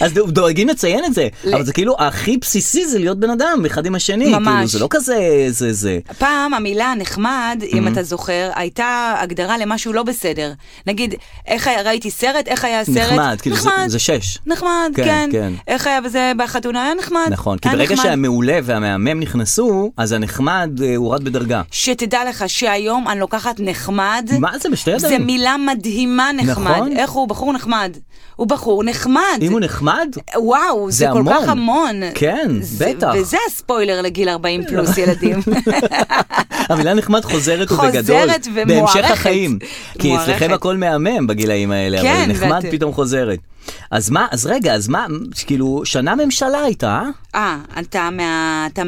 A: אז דו- דואגים לציין את זה. אבל זה כאילו, הכי בסיסי זה להיות בן אדם, אחד עם השני.
B: ממש.
A: כאילו, זה לא כזה, זה, זה.
B: פעם המילה נחמד,
A: Mm-hmm.
B: אם אתה זוכר, הייתה הגדרה למשהו לא בסדר. נגיד, איך היה, ראיתי סרט, איך היה הסרט?
A: נחמד, כאילו, זה- זה שש.
B: נחמד,
A: כן,
B: כן,
A: כן.
B: איך היה בזה בחתונה? היה נחמד.
A: נכון, כי
B: היה
A: ברגע
B: אה, נחמד.
A: שהמעולה והמהמם נכנסו, אז הנחמד אה, הורד בדרגה.
B: שתדע לך שהיום אני לוקחת נחמד.
A: מה זה בשתי
B: זה
A: ידיים?
B: מילה מדהימה נחמד.
A: נכון.
B: איך הוא? בחור נחמד. הוא בחור נחמד.
A: אם הוא נחמד, נחמד.
B: וואו, זה,
A: זה
B: כל כך המון.
A: המון. כן,
B: זה-
A: בטח. לא.
B: וזה הספוילר לגיל 40 פלוס, ילדים.
A: המילה נחמד חוזרת ובגדול.
B: חוזרת ומוערכת.
A: בהמשך החיים. כי
B: מוערכת.
A: אצלכם הכל מהמם בגילאים האלה,
B: כן,
A: אבל נחמד
B: ואת-
A: פתאום חוזרת. אז מה, אז רגע, אז מה, כאילו, שנה ממשלה הייתה, אה?
B: אה, אתה מה... אתה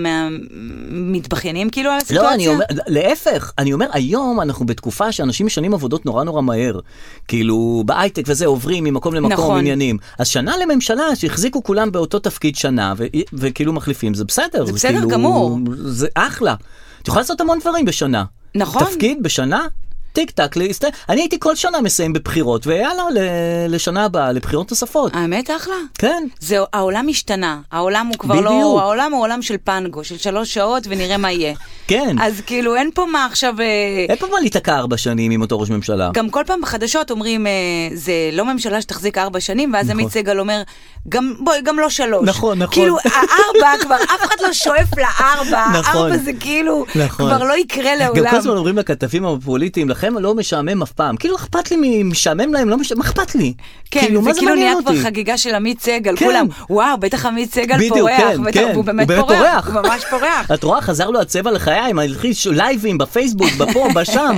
B: מהמתבכיינים כאילו על הסיטואציה?
A: לא, אני אומר, להפך, אני אומר, היום אנחנו בתקופה שאנשים משנים עבודות נורא נורא מהר. כאילו, בהייטק וזה, עוברים ממקום למקום,
B: נכון.
A: עניינים. אז שנה לממשלה שהחזיקו כולם באותו תפקיד שנה, ו- וכאילו מחליפים, זה בסדר.
B: זה בסדר
A: כאילו,
B: גמור.
A: זה אחלה. את יכולה לעשות המון דברים בשנה.
B: נכון.
A: תפקיד בשנה, טיק טק, להסת... אני הייתי כל שנה מסיים בבחירות, ויאללה, ל- לשנה הבאה, לבחירות נוספות.
B: האמת אחלה.
A: כן.
B: זה, העולם השתנה, העולם הוא כבר
A: בדיוק.
B: לא, העולם הוא עולם של פנגו, של שלוש שעות ונראה מה יהיה.
A: כן.
B: אז כאילו אין פה מה עכשיו, אה,
A: אין פה מה להיתקע ארבע שנים עם אותו ראש ממשלה.
B: גם כל פעם בחדשות אומרים, אה, זה לא ממשלה שתחזיק ארבע שנים, ואז עמית סגל אומר, גם, בואי, גם לא שלוש.
A: נכון, נכון.
B: כאילו, הארבע כבר, אף אחד לא שואף לארבע,
A: נכון.
B: ארבע זה כאילו,
A: נכון.
B: כבר לא יקרה לעולם.
A: גם כל הזמן אומרים לכתבים הפוליטיים, לכם לא משעמם אף פעם. כאילו אכפת לי, מ- משעמם להם, לא משעמם, מה אכפת לי?
B: כן,
A: כאילו, מה
B: זה
A: זה
B: כאילו
A: מעניין
B: נהיה
A: אותי?
B: כבר חגיגה של עמית סגל,
A: כן.
B: כולם, וואו, בטח עמית סגל
A: בדיוק,
B: פורח,
A: כן,
B: בטח,
A: כן.
B: והוא באמת פורח, הוא ממש פורח.
A: את רואה, חזר לו הצבע לחיים, הלחיש לייבים בפייסבוק, בפה, בשם.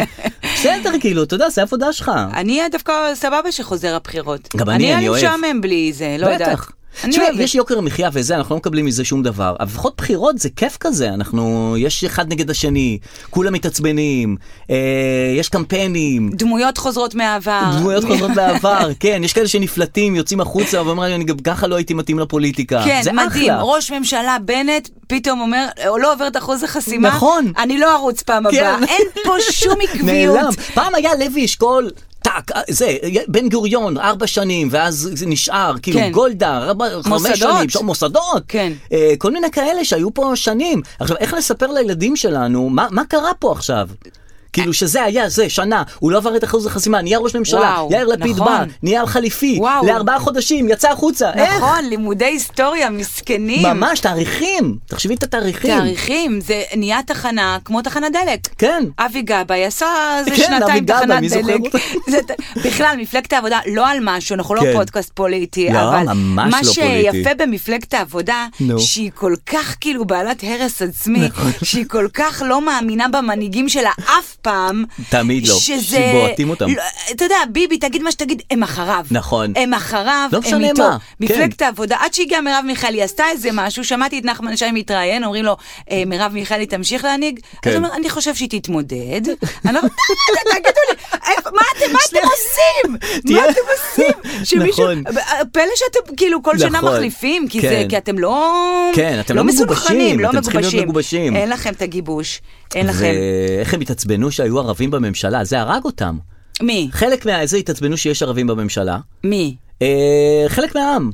A: בסדר, כאילו, אתה יודע, זה העבודה שלך.
B: אני דווקא סבבה שחוזר הבחירות.
A: גם אני, אני אוהב.
B: אני משעמם בלי זה, לא יודעת.
A: בטח.
B: אני
A: תשמע,
B: אוהבת.
A: יש יוקר מחיה וזה, אנחנו לא מקבלים מזה שום דבר. אבל לפחות בחירות זה כיף כזה, אנחנו, יש אחד נגד השני, כולם מתעצבנים, אה, יש קמפיינים.
B: דמויות חוזרות מהעבר.
A: דמויות חוזרות לעבר, כן, יש כאלה שנפלטים, יוצאים החוצה ואומרים, אני גם ככה לא הייתי מתאים לפוליטיקה.
B: כן,
A: זה
B: מדהים.
A: אחלה.
B: ראש ממשלה בנט פתאום אומר, "אה, לא עובר את אחוז החסימה.
A: נכון.
B: אני לא ארוץ פעם הבאה.
A: כן.
B: אין פה שום עקביות.
A: נעלם. פעם היה לוי אשכול. טאק, אה, זה, בן גוריון, ארבע שנים, ואז זה נשאר, כאילו
B: כן.
A: גולדה, ארבע,
B: מוסדות.
A: חמש שנים, ש- מוסדות,
B: כן.
A: אה, כל מיני כאלה שהיו פה שנים. עכשיו, איך לספר לילדים שלנו, מה, מה קרה פה עכשיו?
B: אה.
A: כאילו שזה היה זה, שנה, הוא לא עבר את אחוז החסימה, נהיה ראש ממשלה,
B: וואו,
A: יאיר לפיד
B: נכון.
A: בא, נהיה חליפי,
B: וואו.
A: לארבעה חודשים, יצא החוצה, איך?
B: נכון, לימודי היסטוריה, מסכנים.
A: ממש, תאריכים, תחשבי את התאריכים.
B: תאריכים, זה נהיה תחנה כמו תחנת דלק.
A: כן.
B: אבי גבאי עשה איזה
A: כן, אבי
B: שנתיים
A: גבאי,
B: תחנת
A: מי זוכר
B: דלק.
A: אותו?
B: זה ת- בכלל, מפלגת העבודה לא על משהו, אנחנו לא
A: כן.
B: פודקאסט פוליטי,
A: לא,
B: אבל
A: ממש
B: מה
A: לא
B: שיפה
A: פוליטי.
B: במפלגת העבודה,
A: נו. נכון.
B: שהיא כל כך כאילו בעלת הרס עצמי, שהיא כל כך לא מאמינה במנהיגים שלה אף פעם,
A: תמיד לא,
B: שזה...
A: שבועטים אותם.
B: לא, אתה יודע, ביבי, תגיד מה שתגיד, הם אחריו.
A: נכון.
B: הם אחריו,
A: לא
B: הם
A: משנה
B: איתו.
A: מה, כן.
B: מפלגת העבודה, עד שהגיעה מרב מיכאלי, עשתה איזה משהו, שמעתי את נחמן שי מתראיין, אומרים לו, "אה, מרב מיכאלי תמשיך להנהיג? אז
A: כן.
B: הוא אומר, אני חושב שהיא תתמודד. אני לא, תגידו לי, איפה- מה אתם מה אתם עושים? מה
A: תהיה-
B: אתם עושים? שמישהו,
A: נכון.
B: פלא שאתם כאילו כל שנה
A: נכון.
B: מחליפים, כי זה-
A: כן.
B: כי אתם לא
A: כן, אתם לא
B: מסונכרנים,
A: מגובשים,
B: לא
A: אתם צריכים להיות
B: מגובשים.
A: מגובשים.
B: אין לכם את הגיבוש, אין לכם.
A: ואיך הם התעצבנו שהיו ערבים בממשלה, זה הרג אותם.
B: מי?
A: חלק מהזה התעצבנו שיש ערבים בממשלה,
B: מי?
A: אה, חלק מהעם.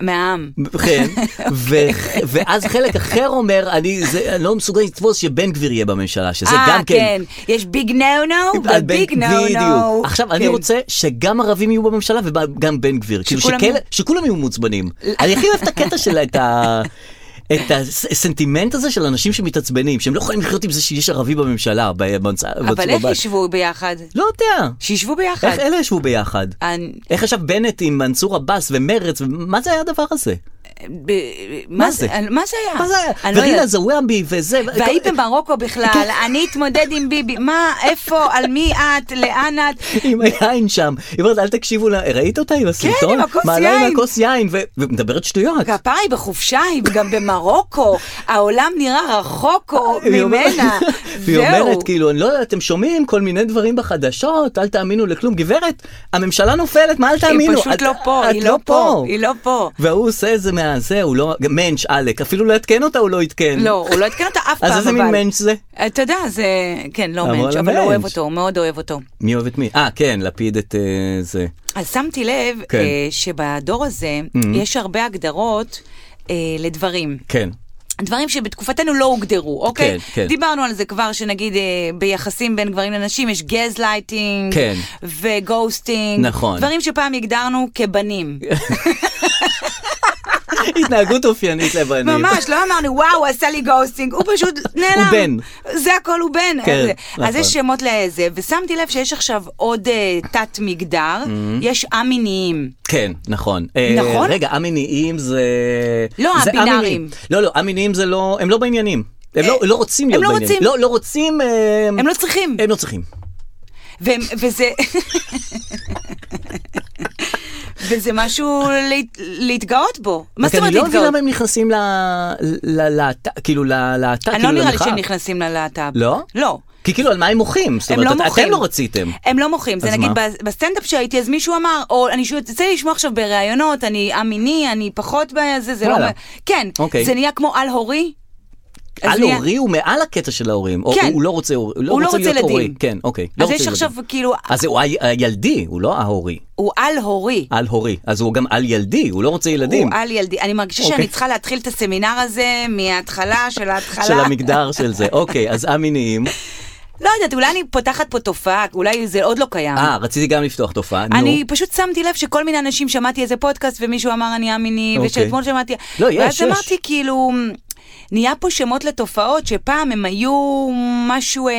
B: מהעם.
A: כן, ו- ואז חלק אחר אומר, אני זה- אני לא מסוגל לתפוס שבן גביר יהיה בממשלה, שזה
B: אה,
A: גם כן.
B: יש ביג נו נו
A: על בן-
B: וביג נו נו.
A: בדיוק. עכשיו, אני רוצה שגם ערבים יהיו בממשלה וגם בן גביר. כאילו,
B: כן. שכולם-
A: שכאלה- שכולם יהיו מעוצבנים. אני הכי אוהב את הקטע של את ה... את הסנטימנט הזה של אנשים שמתעצבנים, שהם לא יכולים לחיות עם זה שיש ערבי בממשלה, במצב
B: אבל איך ישבו ביחד?
A: לא יודע.
B: שישבו ביחד.
A: איך אלה ישבו ביחד?
B: אני-
A: איך ישב בנט עם מנסור עבאס ומרץ, ומה זה היה הדבר הזה?
B: ב- מה זה?
A: זה?
B: אני- מה זה היה?
A: מה זה אה, כן. היה?
B: אה, אני לא
A: ורינה
B: יודעת.
A: זוואבי וזה...
B: והיית במרוקו בכלל, אני אתמודד עם ביבי, מה, איפה, על מי את, לאן את,
A: עם היין שם, היא אומרת אל תקשיבו לה, ראית אותה עם הסרטון?
B: כן, עם הכוס
A: מעלה
B: יין.
A: עם הכוס יין ו- ומדברת שטויות.
B: כפרה היא בחופשה, היא גם במרוקו, העולם נראה רחוקו
A: אה, היא אומרת-
B: ממנה,
A: והיא
B: זהו.
A: אומרת כאילו, אני לא יודע, אתם שומעים כל מיני דברים בחדשות, אל תאמינו לכלום. גברת, הממשלה נופלת, מה אל תאמינו?
B: היא פשוט
A: את-
B: לא פה,
A: את
B: היא לא פה, היא לא פה.
A: והוא עושה את זה מהזה, הוא לא... מענץ' עלק, אפילו לעדכן אותה הוא לא עדכן.
B: לא, הוא לא עדכן אותה אף פעם,
A: אז איזה מין
B: אבל-
A: מענץ' זה?
B: אתה יודע, זה, כן, לא
A: אבל
B: מענץ', אבל הוא
A: מענץ'.
B: אוהב אותו, הוא מאוד אוהב אותו.
A: מי אוהב את מי? אה, כן, לפיד את אה, זה.
B: אז שמתי לב
A: כן. Mm-hmm.
B: אה, שבדור הזה יש הרבה הגדרות אה, לדברים.
A: כן.
B: דברים שבתקופתנו לא הוגדרו, אוקיי?
A: כן, כן.
B: דיברנו על זה כבר, שנגיד אה, ביחסים בין גברים לנשים יש גז לייטינג,
A: כן.
B: וגוסטינג,
A: נכון.
B: דברים שפעם הגדרנו כבנים.
A: התנהגות אופיינית לבנים.
B: ממש, לא אמרנו, וואו, הוא עשה לי גאוסטינג, הוא פשוט נעלם.
A: הוא בן.
B: זה הכל הוא בן.
A: כן,
B: אז- אז
A: נכון.
B: יש שמות לזה, ושמתי לב שיש עכשיו עוד אה, תת מגדר,
A: Mm-hmm.
B: יש א-מיניים.
A: כן, נכון. אה,
B: נכון?
A: רגע, א-מיניים זה...
B: לא,
A: זה
B: הבינאריים.
A: א-מיניים. לא, לא, א-מיניים זה לא... הם לא בעניינים. הם לא-
B: אה,
A: לא רוצים
B: הם
A: להיות
B: לא
A: בעניינים.
B: רוצים.
A: לא, לא רוצים... אה,
B: הם לא צריכים.
A: הם לא צריכים.
B: והם- וזה... וזה משהו להת- להתגאות בו. מה זאת
A: רק
B: אומרת
A: אני לא מבין
B: להתגאות?
A: למה הם נכנסים ל... ל- להת- כאילו ל- להת...
B: אני
A: כאילו,
B: לא נראה לי
A: למחאה.
B: שהם נכנסים ללהט"ב.
A: לא?
B: לא.
A: כי כאילו, על מה הם מוחים? זאת
B: הם
A: אומרת,
B: לא
A: את-
B: מוחים.
A: אתם לא רציתם.
B: הם לא מוחים, זה
A: אז
B: נגיד
A: מה?
B: בס- בסטנדאפ שהייתי, אז מישהו אמר, או אני שואלת, יוצא לי לשמוע עכשיו בראיונות, אני א-מיני, אני פחות בזה, זה לא...
A: וואלה.
B: מ- כן,
A: אוקיי.
B: זה נהיה כמו על-הורי. אז
A: על
B: נהיה-
A: הורי הוא מעל הקטע של ההורים. או
B: כן.
A: הוא לא רוצה הורי.
B: הוא לא רוצה
A: להיות
B: ילדים.
A: הורי. כן, אוקיי. לא
B: אז
A: רוצה
B: יש עכשיו
A: ילדים.
B: כאילו,
A: אז זהו, הילדי, הוא לא ההורי.
B: הוא על-הורי.
A: על הורי. אז הוא גם על ילדי, הוא לא רוצה ילדים.
B: הוא על ילדי, אני מרגישה
A: אוקיי.
B: שאני צריכה להתחיל את הסמינר הזה מההתחלה של ההתחלה.
A: של המגדר של זה. אוקיי, אז א-מיניים.
B: לא יודעת, אולי אני פותחת פה תופעה, אולי זה עוד לא קיים.
A: אה, רציתי גם לפתוח תופעה. נו.
B: אני פשוט שמתי לב שכל מיני אנשים, שמעתי איזה פודקאסט ומישהו אמר אני א-מיני,
A: אוקיי.
B: ושאתמול שמעתי,
A: לא, יש,
B: ואז
A: יש.
B: אמרתי כאילו, נהיה פה שמות לתופעות שפעם הם היו משהו אה,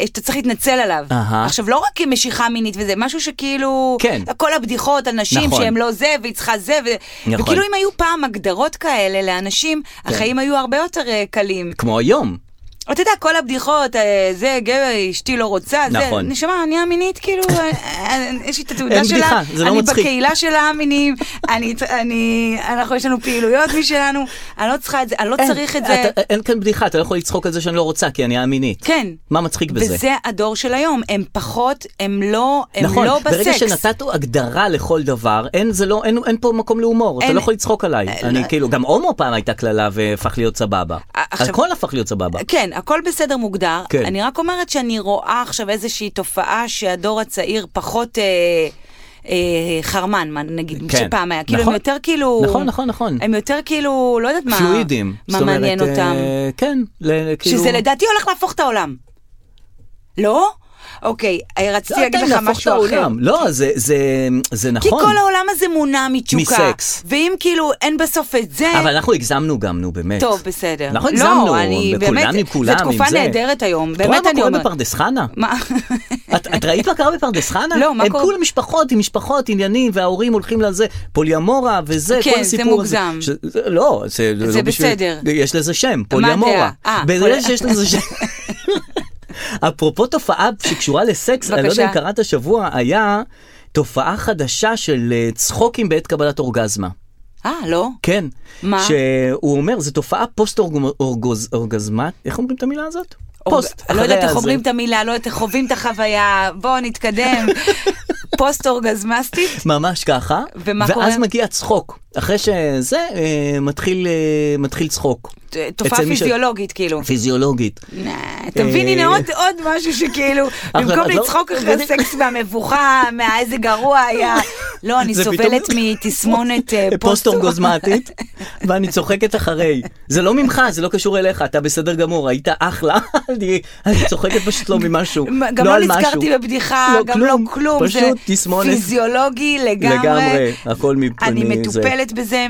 B: אה, שאתה צריך להתנצל עליו.
A: אהה.
B: עכשיו, לא רק משיכה מינית וזה, משהו שכאילו,
A: כן.
B: כל הבדיחות על נשים
A: נכון.
B: שהם לא זה, והיא צריכה זה, ו...
A: נכון. כן.
B: וכאילו אם היו פעם הגדרות כאלה לאנשים, החיים היו הרבה יותר אה, קלים.
A: כמו היום.
B: אתה יודע, כל הבדיחות, אה, זה גבר, אשתי לא רוצה, זה,
A: נכון.
B: נשמה, אני א-מינית, כאילו, אה, אה, יש לי את התעודה
A: אין
B: שלה,
A: בדיחה, זה לא
B: אני
A: מצחיק.
B: בקהילה של א-מינים, אני, אני, אנחנו, יש לנו פעילויות משלנו, אני לא צריכה את זה, אני לא צריך את זה,
A: אתה- אין כאן בדיחה, אתה לא יכול לצחוק על זה שאני לא רוצה, כי אני א-מינית.
B: כן.
A: מה מצחיק בזה?
B: וזה הדור של היום, הם פחות, הם לא, הם
A: נכון,
B: לא בסקס.
A: ברגע שנתת הגדרה לכל דבר, אין, זה לא, אין, אין פה מקום להומור, אתה
B: אין- אה, לא-
A: לא יכול לצחוק עליי. אני כאילו, גם הומו פעם הייתה קללה והפך להיות סבבה.
B: אה, עכשיו-
A: הכל הפך להיות סבבה.
B: כן, הכל בסדר מוגדר.
A: כן.
B: אני רק אומרת שאני רואה עכשיו איזושהי תופעה שהדור הצעיר פחות... אה, אה, חרמן, מה נגיד,
A: כן.
B: שפעם היה, כאילו הם
A: נכון.
B: יותר כאילו,
A: נכון, נכון, נכון.
B: הם יותר כאילו, לא יודעת מה,
A: פלואידים.
B: מה
A: זאת אומרת,
B: מעניין
A: אה,
B: אותם,
A: כן, ל- כאילו...
B: שזה לדעתי הולך להפוך את העולם. לא? אוקיי, אה, רציתי
A: לא,
B: להגיד
A: אתם
B: לך
A: להפוך את
B: משהו אחר.
A: העולם. לא, זה- זה- זה
B: כי
A: נכון.
B: כל העולם הזה מונע מתשוקה,
A: מסקס.
B: ואם כאילו אין בסוף את זה,
A: אבל אנחנו הגזמנו גם, נו, באמת.
B: טוב, בסדר.
A: אנחנו הגזמנו,
B: לא, אני באמת,
A: כולם עם
B: זו
A: כולם,
B: תקופה
A: עם זה.
B: נהדרת היום,
A: את רואה
B: באמת
A: מה
B: אני
A: קורה
B: אומרת.
A: בפרדס חנה?
B: מה?
A: את, את ראית מה קרה בפרדס חנה?
B: לא, מה קורה?
A: הם כולם משפחות עם משפחות, עניינים, וההורים הולכים לזה, פוליאמורה וזה,
B: כן,
A: כל
B: זה
A: הסיפור הזה.
B: מוגזם.
A: ש- זה- לא, זה,
B: זה
A: לא בשביל-
B: בסדר.
A: יש לזה שם, פוליאמורה.
B: הדעה? אה,
A: בגלל
B: פול-
A: שיש לזה שם. אפרופו תופעה שקשורה לסקס, אני לא יודע אם
B: בבקשה.
A: קראת השבוע, היה תופעה חדשה של אה, צחוקים בעת קבלת אורגזמה.
B: אה, לא?
A: כן.
B: מה?
A: שהוא אומר, זו תופעה פוסט-אורגזמת, איך אומרים את המילה הזאת? פוסט,
B: לא
A: אחרי
B: יודעת איך
A: הזה.
B: אומרים את המילה, לא יודעת איך חווים את החוויה, בואו נתקדם. פוסט אורגזמסטית?
A: ממש ככה.
B: ומה
A: ואז
B: קורה?
A: ואז מגיע צחוק. אחרי שזה, אה, מתחיל, אה, מתחיל צחוק.
B: תופעה
A: אצל מי ש-
B: פיזיולוגית, כאילו.
A: פיזיולוגית.
B: נה, אתה מבין, הנה עוד- עוד משהו שכאילו,
A: אה, אבל
B: במקום
A: את לא-
B: לצחוק אחרי הסקס והמבוכה, מהאיזה גרוע היה, לא, אני
A: זה פתאום-
B: סובלת מתסמונת אה, פוסט
A: פוסט-אורגוזמטית, ואני צוחקת אחרי. זה לא ממך, זה לא קשור אליך, אתה בסדר גמור, היית אחלה, אני, אני צוחקת פשוט לא ממשהו,
B: גם לא
A: על משהו.
B: נזכרתי בבדיחה,
A: לא,
B: גם לא
A: כלום,
B: כלום, זה
A: פשוט תסמונת.
B: פיזיולוגי
A: לגמרי,
B: לגמרי.
A: הכל מפני
B: אני
A: זה.
B: מטופלת בזה.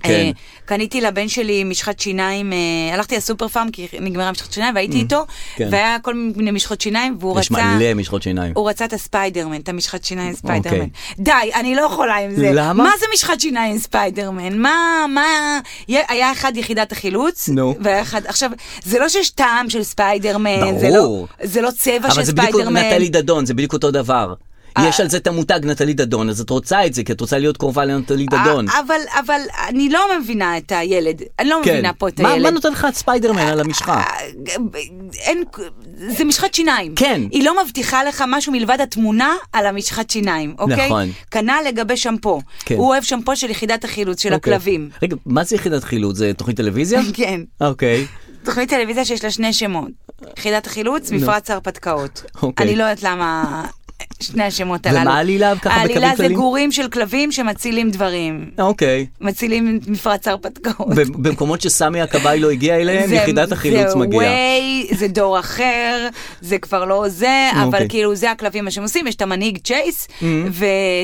A: כן.
B: אה, קניתי לבן שלי משחת שיניים, אה, הלכתי לסופר פארם כי נגמרה משחת שיניים והייתי איתו,
A: כן.
B: והיה כל מיני משחות שיניים והוא
A: יש
B: רצה...
A: מלא משחות שיניים.
B: הוא רצה את הספיידרמן, את המשחת שיניים ספיידרמן.
A: אוקיי.
B: די, אני לא יכולה עם זה.
A: למה?
B: מה זה משחת שיניים ספיידרמן? מה, מה... יה- היה אחד יחידת החילוץ,
A: נו.
B: והיה אחד... עכשיו, זה לא שיש טעם של ספיידרמן, זה
A: ברור.
B: לא- זה לא צבע
A: אבל
B: של
A: זה בדיוק
B: ספיידרמן.
A: נטלי דדון, זה בדיוק אותו דבר.
B: אה.
A: יש על זה את המותג נטלי דדון, אז את רוצה את זה, כי את רוצה להיות קרובה לנטלי דדון.
B: אה, אבל, אבל אני לא מבינה את הילד, אני לא מבינה פה את
A: כן. מה-
B: הילד.
A: מה נותן לך את ספיידרמן על המשחה?
B: אין, זה משחת שיניים.
A: כן.
B: היא לא מבטיחה לך משהו מלבד התמונה על המשחת שיניים, אוקיי?
A: נכון.
B: כנ"ל לגבי שמפו.
A: כן.
B: הוא אוהב שמפו של יחידת החילוץ, של
A: אוקיי.
B: הכלבים.
A: רגע, מה זה יחידת חילוץ? זה תוכנית טלוויזיה?
B: כן.
A: אוקיי.
B: תוכנית טלוויזיה שיש לה שני שמות. יחידת החילוץ, מפרץ ההרפתקאות.
A: אוקיי.
B: אני לא יודעת למה... שני השמות הללו.
A: ומה העלילה ככה בקווים
B: העלילה זה
A: כלליים?
B: גורים של כלבים שמצילים דברים.
A: אוקיי.
B: מצילים מפרץ הרפתקאות.
A: ב- במקומות שסמי הכבאי לא הגיע אליהם,
B: זה-
A: יחידת החילוץ
B: זה
A: מגיעה.
B: ווי, זה דור אחר, זה כבר לא זה, אבל
A: אוקיי. Mm-hmm.
B: כאילו זה הכלבים מה שהם עושים, יש את המנהיג צ'ייס,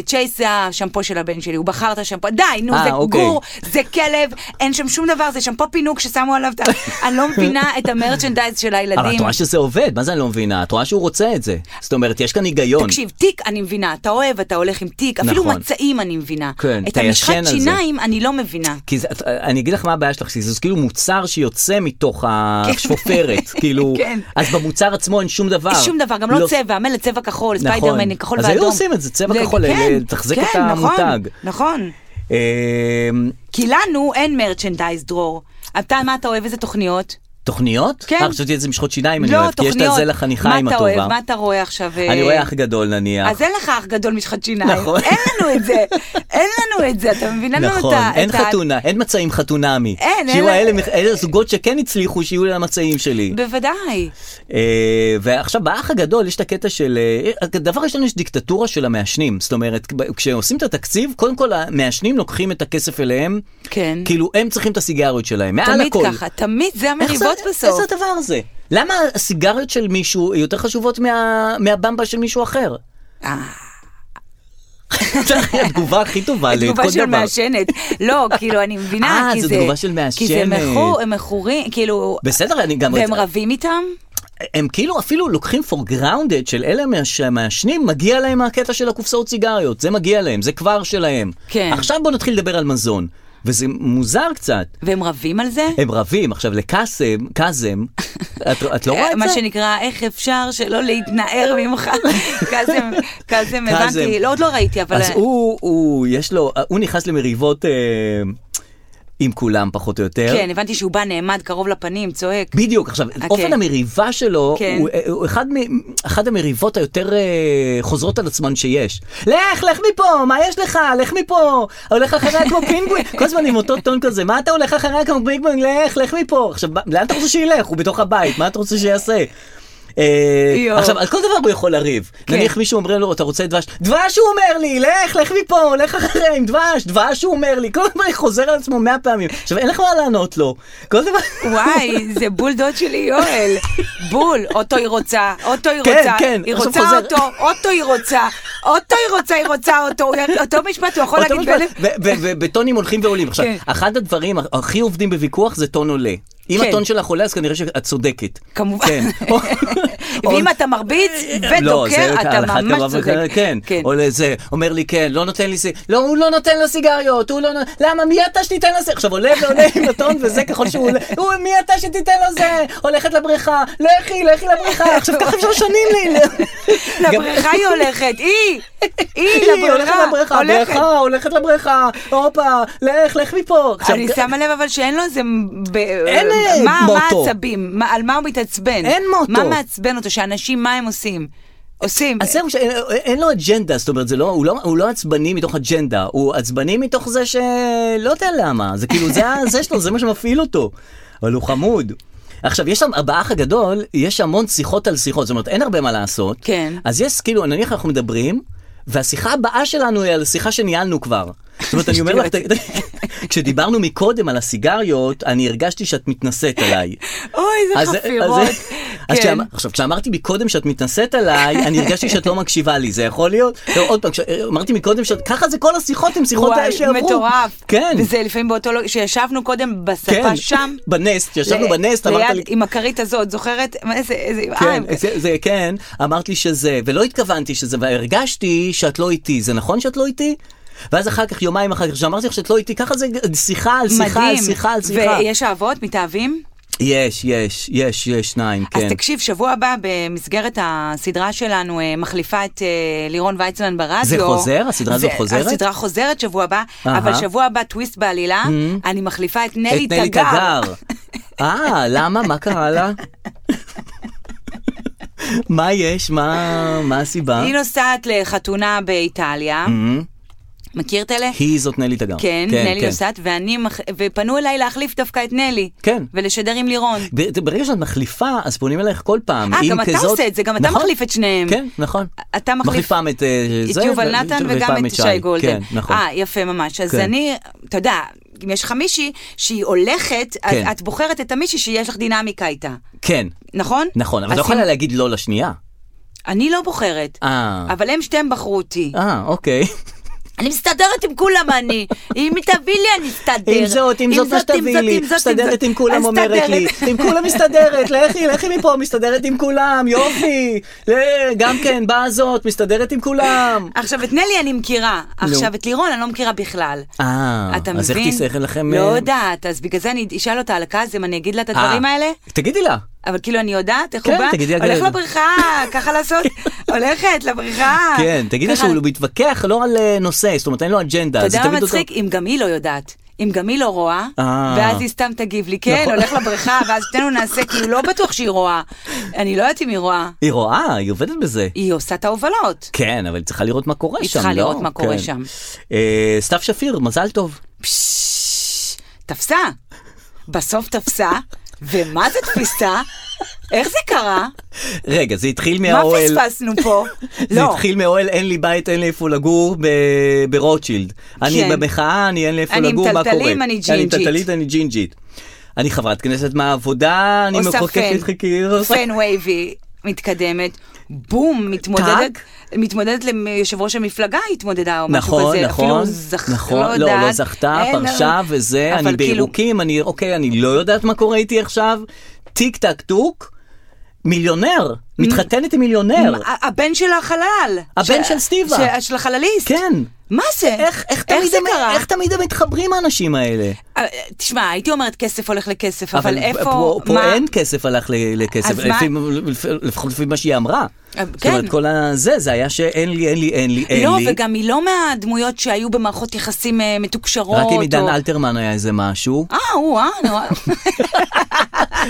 B: וצ'ייס זה השמפו של הבן שלי, הוא בחר את השמפו, די, נו,
A: אה,
B: זה
A: אוקיי.
B: גור, זה כלב, אין שם שום דבר, זה שמפו פינוק ששמו עליו, את ה- אני לא מבינה את המרצ'נדייז של
A: אבל את
B: הילדים.
A: רואה שזה עובד, מה זה אני לא מבינה? את רואה שהוא רוצה את זה. זאת אומרת, יש כאן היגיון.
B: תקשיב, תיק אני מבינה, אתה אוהב, אתה הולך עם תיק, אפילו
A: נכון.
B: מצעים אני מבינה.
A: כן,
B: את
A: אתה ישן
B: המשחת
A: על זה.
B: שיניים אני לא מבינה.
A: כי זה, את- אני אגיד לך מה הבעיה שלך, כי זה כאילו מוצר שיוצא מתוך השפופרת, כאילו,
B: כן.
A: אז במוצר עצמו אין שום דבר.
B: שום דבר, גם לא צבע, מילא צבע כחול,
A: אה, נכון.
B: ספיידרמן, כחול
A: אז
B: ואדום.
A: היו עושים את זה, צבע
B: זה-
A: כחול,
B: כן,
A: לתחזק את
B: כן, נכון,
A: המותג.
B: נכון,
A: אמ,
B: כי לנו אין מרצ'נדייז, דרור. אתה, מה אתה אוהב? איזה תוכניות? תוכניות? כן.
A: אה, חשבתי איזה משחות שיניים אני
B: לא,
A: אוהב, כי יש
B: תוכניות.
A: את הזל החניכיים
B: מה אתה אוהב?
A: הטובה.
B: מה אתה רואה עכשיו? אה,
A: אני רואה אח גדול נניח.
B: אז אין לך אח גדול משחת שיניים.
A: נכון.
B: אין לנו את זה. אין לנו את זה, אתה מבין? אין לנו
A: נכון,
B: את ה-
A: אין
B: את ה-
A: חתונה, אין מצעים חתונמי.
B: אין,
A: שיהיו
B: אין-
A: האלה, מח- אלה זוגות שכן הצליחו, שיהיו להם מצעים שלי.
B: בוודאי.
A: אה, ועכשיו באח הגדול יש את הקטע של אה, דבר ראשון יש דיקטטורה של המעשנים זאת אומרת ב- כשעושים את התקציב קודם כל המעשנים לוקחים את הכסף אליהם
B: כן.
A: כאילו הם צריכים את הסיגריות שלהם מעל
B: תמיד
A: הכל.
B: ככה, תמיד זה
A: איך זה-
B: המריבות בסוף.
A: איזה דבר זה? למה הסיגריות של מישהו יותר חשובות מה, מהבמבה של מישהו אחר?
B: אה.
A: זה התגובה הכי טובה לכל דבר.
B: תגובה של מעשנת. לא, כאילו, אני מבינה,
A: אה,
B: כי
A: זו
B: זה...
A: תגובה של
B: כי זה
A: מעשנת.
B: מכור, הם מכורים, כאילו...
A: בסדר, אני גם...
B: והם רבים איתם?
A: הם כאילו אפילו לוקחים for grounded של אלה מה- שמעשנים, מגיע להם הקטע של הקופסאות סיגריות, זה מגיע להם, זה כבר שלהם.
B: כן.
A: עכשיו בוא נתחיל לדבר על מזון, וזה מוזר קצת.
B: והם רבים על זה?
A: הם רבים, עכשיו לקאסם, קאזם, את, את לא רואה את
B: אה, מה
A: זה?
B: שנקרא, איך אפשר שלא להתנער ממך? קאזם, קאזם,
A: קאזם.
B: הבנתי, לא, עוד לא ראיתי, אבל...
A: אז הוא, הוא, יש לו, הוא נכנס למריבות אה, עם כולם פחות או יותר.
B: כן, הבנתי שהוא בא נעמד קרוב לפנים, צועק.
A: בדיוק, עכשיו,
B: אוקיי.
A: אופן המריבה שלו,
B: כן.
A: הוא, אה, הוא אחד, מ, אחד המריבות היותר אה, חוזרות על עצמן שיש. לך, לך מפה, מה יש לך? לך מפה, הולך אחריה כמו פינגווין, כל הזמן עם אותו טון כזה, מה אתה הולך אחריה כמו פינגווין? לך, לך מפה. עכשיו, מה- לאן אתה רוצה שילך? הוא בתוך הבית, מה אתה רוצה שיעשה? אה,
B: יואו.
A: עכשיו, על כל דבר הוא יכול לריב.
B: כן.
A: נניח מישהו אומר לו, אתה רוצה דבש? דבש הוא אומר לי, לך, לך מפה, לך אחריה עם דבש, דבש הוא אומר לי. כל הזמן חוזר על עצמו מאה פעמים. עכשיו, אין לך מה לענות לו. כל דבר...
B: וואי, זה בול דוד שלי, יואל. בול. אותו היא רוצה, אותו היא
A: כן,
B: רוצה,
A: כן,
B: היא
A: עכשיו
B: רוצה
A: חוזר.
B: אותו, אותו היא רוצה, אותו היא רוצה, היא רוצה אותו. הוא- אותו משפט הוא יכול
A: אותו
B: להגיד
A: משפט.
B: באלף...
A: ו- ו- ו- בטונים הולכים ועולים. עכשיו,
B: כן.
A: אחד הדברים הכי עובדים בוויכוח זה טון עולה. אם
B: כן.
A: הטון שלך עולה, אז כנראה שאת צודקת.
B: כמובן.
A: כן. או-
B: ואם
A: או-
B: אתה מרביץ
A: לא, זה
B: ודוקר, אתה
A: הלכה
B: ממש
A: כמה
B: צודק.
A: וכמה, כן, או לזה, אומר לי כן, לא נותן לי סי... לא, הוא לא נותן לו סיגריות, הוא לא... נ- למה, מי אתה שתיתן לו זה? עכשיו עולה ועולה עם הטון וזה, ככל שהוא עולה, הוא, מי אתה שתיתן לו זה? הולכת לבריכה, לכי, לכי לבריכה, עכשיו ככה אפשר שנים לי. גם-
B: לבריכה היא הולכת, היא! היא
A: הולכת
B: לבריכה,
A: לבריכה,
B: הולכת.
A: בריכה, הולכת לבריכה, הופה, לך, לך מפה. עכשיו,
B: אני שמה לב אבל שאין לו איזה... ב-
A: אין, אה,
B: מה מה
A: מוטו.
B: העצבים? מה- על מה הוא מתעצבן?
A: אין מוטו.
B: מה מעצבן אותו? שאנשים, מה הם עושים? עושים.
A: אז זהו, שאין- אין לו אג'נדה, זאת אומרת, זה לא, הוא, לא, הוא לא עצבני מתוך אג'נדה, הוא עצבני מתוך זה שלא יודע למה, זה כאילו, זה, ה- זה שלו, זה מה שמפעיל אותו, אבל הוא חמוד. עכשיו, יש שם, באח הגדול, יש המון שיחות על שיחות, זאת אומרת, אין הרבה מה לעשות.
B: כן.
A: אז יש, כאילו, נניח אנחנו מדברים, והשיחה הבאה שלנו היא על שיחה שניהלנו כבר. זאת אומרת, אני אומר לך, ת- ת- כשדיברנו מקודם על הסיגריות, אני הרגשתי שאת מתנשאת עליי.
B: אוי, איזה חפירות.
A: אז, אז
B: כן.
A: כשאמר, עכשיו, כשאמרתי מקודם שאת מתנשאת עליי, אני הרגשתי שאת לא מקשיבה לי, זה יכול להיות? לא, עוד פעם, כשאמרתי מקודם שאת... ככה נכון, זה כל השיחות עם שיחות האלה שעברו.
B: וואי, מטורף.
A: כן.
B: וזה לפעמים באותו... לא- שישבנו קודם
A: כן.
B: בספה שם.
A: בנס, ישבנו
B: ל-
A: בנס, אמרת
B: ליד-
A: לי...
B: עם הכרית הזאת, זוכרת? מה, איזה... איזה- אה,
A: כן, זה, זה כן, אמרת לי שזה, ולא התכוונתי שזה, והרגשתי שאת לא איתי, זה נכון שאת לא איתי? ואז אחר כך, יומיים אחר כך, כשאמרתי לך שאת לא איתי, ככה זה שיחה על שיחה על
B: מדהים.
A: שיחה על שיחה.
B: ויש אהבות? מתאהבים?
A: יש, יש, יש, יש שניים,
B: אז
A: כן.
B: תקשיב, שבוע הבא במסגרת הסדרה שלנו אה, מחליפה את אה, לירון ויצמן ברדיו.
A: זה חוזר? הסדרה הזאת
B: זה-
A: חוזרת?
B: הסדרה חוזרת שבוע הבא,
A: אהה. Mm-hmm.
B: אבל שבוע הבא טוויסט בעלילה, אני מחליפה את נלי
A: את נלי
B: תגר.
A: תגר. אה, למה? מה קרה לה? מה יש? מה מה הסיבה? אה?
B: לא-
A: Mm-hmm.
B: היא נוסעת לחתונה באיטליה. מכיר את אלה?
A: היא זאת נלי תגר.
B: כן, נלי נוסעת, ואני מח- ופנו אליי להחליף דווקא את נלי.
A: כן.
B: ולשדר עם לירון.
A: ב- ברגע שאת מחליפה, אז פונים אלייך כל פעם.
B: אה,
A: אם
B: גם אתה
A: כזאת-
B: עושה את זה, גם אתה
A: נכון.
B: מחליף את שניהם.
A: כן, נכון.
B: אתה מחליף...
A: מחליף פעם את אה,
B: את
A: זה,
B: יובל
A: ו-
B: נתן
A: ופעם
B: וגם את שי גולדן.
A: כן, נכון.
B: אה, יפה ממש. אז
A: כן.
B: אני, אתה יודע, אם יש לך מישהי שהיא הולכת, אז
A: כן.
B: את בוחרת את המישהי שיש לך דינמיקה איתה,
A: כן,
B: נכון?
A: נכון, אבל את לא
B: אז
A: יכולה
B: אם-
A: להגיד לא לשנייה.
B: אני לא בוחרת.
A: אה,
B: אבל הם שתיהם בחרו אותי.
A: אה, אוקיי.
B: אני מסתדרת עם כולם, אני. אם היא תביא לי, אני אסתדר.
A: עם זאת, עם זאת מה שתביאי לי,
B: עם זאת, עם
A: מסתדרת
B: זאת.
A: עם כולם אומרת לי,
B: מסתדרת.
A: עם כולם מסתדרת, לכי, לכי מפה, מסתדרת עם כולם, יופי, ל- גם כן, באה זאת, מסתדרת עם כולם.
B: עכשיו, את נלי אני מכירה. עכשיו, את לירון אני לא מכירה בכלל.
A: אה,
B: אתה
A: אז איך
B: מבין?
A: תס- איך לכם...
B: לא
A: אה,
B: יודעת, אז בגלל זה אני אשאל אותה על הקאזם, אני אגיד לה את
A: אה,
B: הדברים האלה.
A: תגידי לה.
B: אבל כאילו אני יודעת איך
A: כן,
B: הוא בא,
A: תגידי על
B: הולך
A: גלעד.
B: לבריכה, ככה לעשות, הולכת לבריכה.
A: כן, תגידי
B: ככה.
A: שהוא מתווכח לא על אה, נושא, זאת אומרת, אין לו אג'נדה.
B: אתה
A: אז
B: יודע מה
A: תמיד אותו-
B: מצחיק? אם גם היא לא יודעת. אם גם היא לא רואה,
A: אה.
B: ואז היא סתם תגיב לי, כן,
A: נכון.
B: הולך לבריכה, ואז שנינו נעשה, כאילו לא בטוח שהיא רואה. אני לא יודעת אם היא רואה.
A: היא רואה, היא עובדת בזה.
B: היא עושה את ההובלות.
A: כן, אבל היא צריכה לראות מה קורה שם,
B: היא
A: לא?
B: צריכה לראות מה קורה
A: כן.
B: שם.
A: אה, סתיו שפיר, מזל טוב.
B: פששש, תפסה. בסוף תפסה, ומה זה תפיסה? איך זה קרה?
A: רגע, זה התחיל
B: מה
A: מהאוהל.
B: פספסנו פה?
A: זה
B: לא.
A: התחיל מאוהל אין לי בית, אין לי איפה לגור ב- ברוטשילד. אני
B: כן.
A: במחאה, אני אין לי איפה
B: אני עם
A: לגור, מה קורה?
B: טלטלים, אני ג'ינג'ית.
A: אני עם טלטלית, אני ג'ינג'ית. אני חברת כנסת מהעבודה, אני
B: עושה
A: מחוקקת
B: פן.
A: חקיר. עושה-
B: פן וייבי מתקדמת, בום, מתמודדת,
A: טאק.
B: מתמודדת ליושב ראש המפלגה, היא התמודדה או משהו
A: נכון,
B: כזה,
A: נכון,
B: אפילו זכ...
A: נכון,
B: לא
A: לא,
B: יודעת,
A: לא זכתה,
B: אין,
A: פרשה וזה,
B: אבל
A: אני
B: כאילו-
A: בעירוקים, אני, אוקיי, אני לא יודעת מה קורה איתי עכשיו, טיק טק טוק, מיליונר, מתחתנת עם מיליונר,
B: ה- הבן של החלל.
A: הבן
B: ש-
A: של סטיבה.
B: ש- של החלליסט.
A: כן.
B: מה זה?
A: איך, איך, תמיד
B: זה
A: הם,
B: קרה?
A: איך תמיד הם מתחברים האנשים האלה?
B: אה, תשמע, הייתי אומרת כסף הולך לכסף, אבל איפה...
A: פה, פה
B: מה-
A: אין כסף הלך ל- לכסף,
B: אז מה-
A: לפי- לפי- לפחות לפי מה שהיא אמרה.
B: אה,
A: זאת
B: כן.
A: אומרת, כל הזה, זה היה שאין לי, אין לי, אין לי, אין
B: לא,
A: לי.
B: וגם היא לא מהדמויות שהיו במערכות יחסים אה, מתוקשרות.
A: רק עם עידן
B: או-
A: אלתרמן היה איזה משהו.
B: אה, הוא, אה, נורא.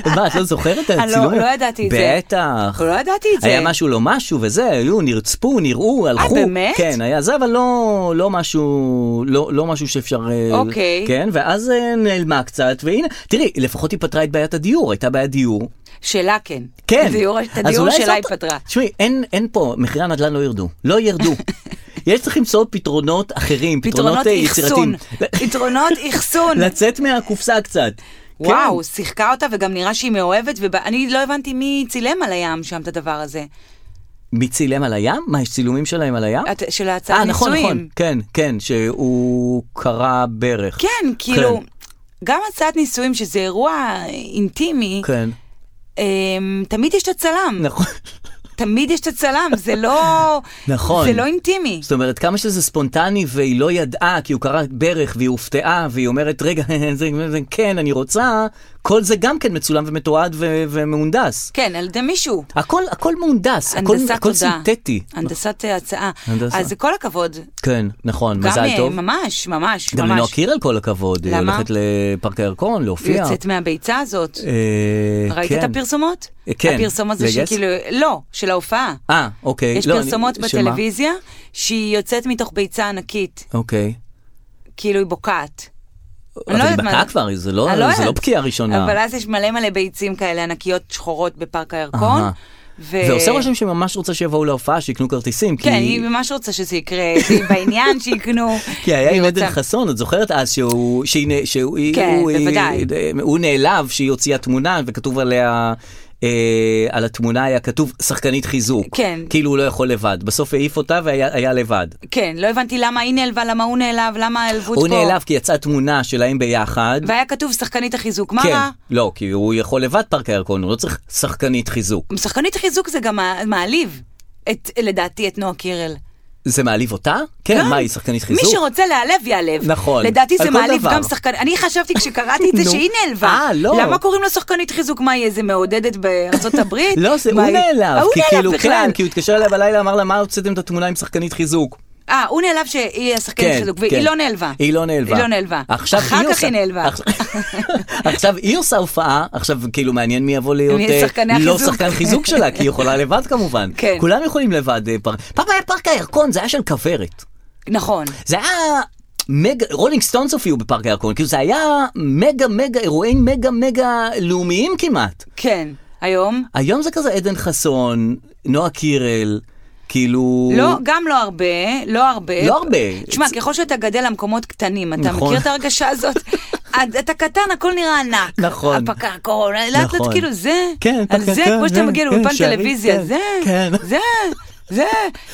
A: מה, את לא זוכרת את
B: אני לא-
A: הצילום?
B: לא ידעתי את זה.
A: בטח.
B: לא ידעתי את זה.
A: היה משהו לא משהו וזה, היו, נרצפו, נראו, הלכו.
B: אה, באמת?
A: כן, היה זה, אבל לא, לא משהו, לא, לא משהו שאפשר... אה,
B: אוקיי.
A: כן, ואז אה, נעלמה קצת, והנה, תראי, לפחות היא פתרה את בעיית הדיור, הייתה בעיית דיור.
B: שלה כן.
A: כן.
B: הדיור-
A: אז
B: את הדיור
A: אולי
B: שלה היא
A: זאת-
B: פתרה.
A: תשמעי, אין, אין פה, מחירי הנדל"ן לא ירדו. לא ירדו. יש צריך למצוא פתרונות אחרים,
B: פתרונות
A: פתרונות אה, יצירתיים.
B: אחסון. פתרונות אחסון.
A: לצאת מהקופסה קצת.
B: וואו,
A: כן.
B: שיחקה אותה וגם נראה שהיא מאוהבת, ואני לא הבנתי מי צילם על הים שם את הדבר הזה.
A: מי צילם על הים? מה, יש צילומים שלהם על הים?
B: את- של
A: אה,
B: ההצעת
A: נכון, נכון,
B: נישואים.
A: כן, כן, שהוא קרע ברך.
B: כן, כאילו, גם הצעת נישואים, שזה אירוע אינטימי,
A: כן,
B: אמ, תמיד יש את הצלם.
A: נכון.
B: תמיד יש את הצלם, זה לא...
A: נכון.
B: זה לא אינטימי.
A: זאת אומרת, כמה שזה ספונטני והיא לא ידעה, כי הוא קרע ברך והיא הופתעה, והיא אומרת, רגע, זה, זה, כן, אני רוצה, כל זה גם כן מצולם ומתועד ו- ומהונדס.
B: כן, על ידי מישהו.
A: הכל, הכל מהונדס, הכל,
B: הנדסת
A: הכל
B: תודעה.
A: סינתטי.
B: הנדסת אה, הצעה.
A: הנדסה.
B: אז כל הכבוד.
A: כן, נכון,
B: גם
A: מזל
B: אה,
A: טוב.
B: ממש, ממש,
A: גם לנועה
B: ממש.
A: קירל, כל הכבוד, היא
B: למה?
A: הולכת לפארק הירקון להופיע.
B: יוצאת מהביצה הזאת.
A: אה,
B: ראית
A: כן.
B: את הפרסומות?
A: אה, כן.
B: הפרסום הזה
A: זה יס?
B: שכאילו, לא, של ההופעה.
A: אה, אוקיי.
B: יש
A: לא, אני-
B: פרסומות
A: שמה?
B: בטלוויזיה שהיא יוצאת מתוך ביצה ענקית,
A: אוקיי.
B: כאילו היא בוקעת. אני
A: אבל
B: לא
A: היא
B: יודעת מה
A: בקעה
B: זה.
A: כבר, זה לא-
B: אני
A: זה לא
B: יודעת.
A: בקיעה ראשונה.
B: אבל אז יש מלא מלא ביצים כאלה ענקיות שחורות בפארק הירקון.
A: אהה.
B: ו...
A: ועושה רושם שהיא ממש רוצה שיבואו להופעה, שיקנו כרטיסים. כי-
B: אה, כן, היא ממש רוצה שזה יקרה, היא בעניין שיקנו.
A: כי היה
B: והיא
A: עם עדן
B: רוצה-
A: חסון, את זוכרת אז שהוא, שהיא נ- שהוא, היא-
B: כן,
A: הוא- היא-
B: בוודאי.
A: הוא נעלב שהיא הוציאה תמונה וכתוב עליה, אה, על התמונה היה כתוב שחקנית חיזוק.
B: כן.
A: כאילו הוא לא יכול לבד. בסוף העיף אותה והיה היה לבד.
B: כן, לא הבנתי למה היא נעלבה, למה הוא נעלב, למה העלבות פה.
A: הוא נעלב כי יצאה תמונה שלהם ביחד.
B: והיה כתוב שחקנית החיזוק, מה
A: כן,
B: רע?
A: לא, כי הוא יכול לבד פארק הירקון, הוא לא צריך שחקנית חיזוק.
B: שחקנית חיזוק זה גם מע- מעליב, את, לדעתי, את נועה קירל.
A: זה מעליב אותה? כן, מה, היא שחקנית חיזוק?
B: מי שרוצה להיעלב, ייעלב.
A: נכון,
B: לדעתי
A: על
B: זה
A: כל
B: מעליב
A: דבר.
B: גם שחקנית. אני חשבתי כשקראתי את זה
A: נו.
B: שהיא נעלבה.
A: אה, לא.
B: למה קוראים לה שחקנית חיזוק? מה, היא איזה מעודדת בארצות הברית?
A: לא, זה, הוא
B: מה, היא- אה,
A: נעלב,
B: הוא
A: כי
B: נעלב
A: כאילו,
B: בכלל.
A: כן, כי הוא התקשר אליי בלילה, אמר לה, מה הוצאתם את התמונה עם שחקנית חיזוק?
B: אה, הוא נעלב שהיא השחקנית חיזוק, והיא לא נעלבה.
A: כן, היא לא נעלבה.
B: היא לא נעלבה.
A: עכשיו
B: אחר כך
A: עושה-
B: היא נעלבה.
A: עכשיו- עכשיו היא עושה הופעה, עכשיו כאילו מעניין מי יבוא להיות
B: מי
A: אה,
B: שחקני
A: לא
B: החיזוק.
A: שחקן חיזוק שלה, כי היא יכולה לבד כמובן.
B: כן.
A: כולם יכולים לבד. אה, פאר- פעם היה פארק הירקון, זה היה של כוורת.
B: נכון.
A: זה היה מגה, רולינג סטונס הופיעו בפארק הירקון, כאילו זה היה מגה מגה אירועים מגה מגה לאומיים כמעט.
B: כן. היום?
A: היום זה כזה עדן חסון, נועה קירל, כאילו...
B: לא, גם לא הרבה, לא הרבה.
A: לא הרבה.
B: תשמע, ככל שאתה גדל למקומות קטנים, אתה
A: נכון.
B: מכיר את ההרגשה הזאת? עד- אתה קטן, הכל נראה ענק.
A: נכון.
B: הפקה, קורונה, לאט לאט
A: נכון.
B: כאילו זה,
A: כן,
B: על
A: פקה,
B: זה,
A: כן,
B: כמו שאתה
A: כן,
B: מגיע
A: כן,
B: לאולפן
A: שערים,
B: טלוויזיה,
A: כן,
B: זה,
A: כן.
B: זה, זה.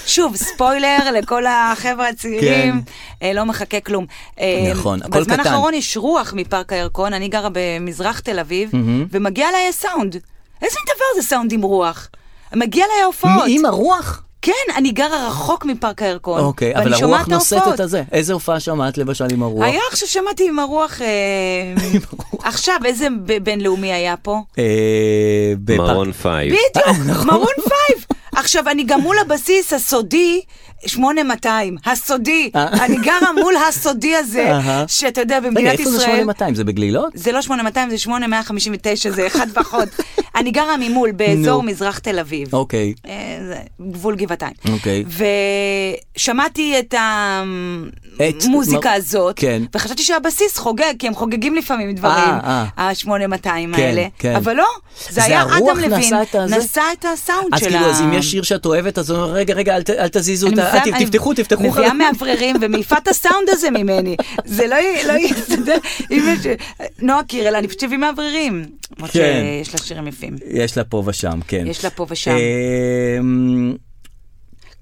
B: שוב, ספוילר לכל החבר'ה הצעירים, אה, לא מחכה כלום. אה,
A: כן. נכון, הכל
B: בזמן
A: קטן.
B: האחרון יש רוח מפארק הירקון, אני גרה במזרח תל אביב, ומגיע אליי הסאונד. איזה מין דבר זה סאונד עם רוח? מגיע אליי ההופעות.
A: מי- עם הרוח?
B: כן, אני גרה רחוק מפארק הירקון.
A: אוקיי,
B: נכון. ואני
A: אבל
B: שומעת
A: הרוח נושאת
B: ההופעות.
A: את הזה. איזה הופעה שמעת למשל עם הרוח?
B: היה עכשיו, שמעתי עם הרוח... אה, עכשיו, איזה ב- בינלאומי היה פה?
A: אה, נכון. בפארק-
D: מרון פייב.
B: בדיוק, מרון פייב. עכשיו, אני גם מול הבסיס הסודי, 8200, הסודי.
A: אה.
B: אני גרה מול הסודי הזה,
A: אהה.
B: שאתה יודע,
A: רגע,
B: במדינת
A: איפה זה
B: ישראל...
A: 8200? זה בגלילות?
B: זה לא 8200, זה 8159, זה אחד פחות. אני גרה ממול,
A: נו.
B: באזור מזרח תל אביב.
A: אוקיי.
B: אה, זה גבול גבעתיים.
A: אוקיי.
B: ושמעתי את
A: את-
B: המוזיקה
A: מר-
B: הזאת,
A: כן.
B: וחשבתי שהבסיס חוגג, כי הם חוגגים לפעמים דברים,
A: אה.
B: ה-8200
A: כן,
B: האלה,
A: כן.
B: אבל לא, זה
A: זה
B: היה
A: הרוח
B: אדם לוין,
A: נשא את הזה?
B: נשא את הסאונד
A: אז
B: של
A: כאילו,
B: ה...
A: אז אם יש שיר שאת אוהבת, אז אומר, רגע, רגע, אל ת- אל תזיזו
B: אני
A: אותה,
B: מביאה-
A: אל ת-
B: אני
A: תפתחו, תפתחו.
B: מביאה מאווררים ומעיפה את הסאונד הזה ממני. זה לא יהיה, לא יהיה, אתה יודע, אם יש... נועה קירל, אני פשוט אביא מאווררים. למרות
A: כן.
B: שיש לה שירים יפים.
A: יש לה פה ושם, כן.
B: יש לה פה ושם.
A: אמ,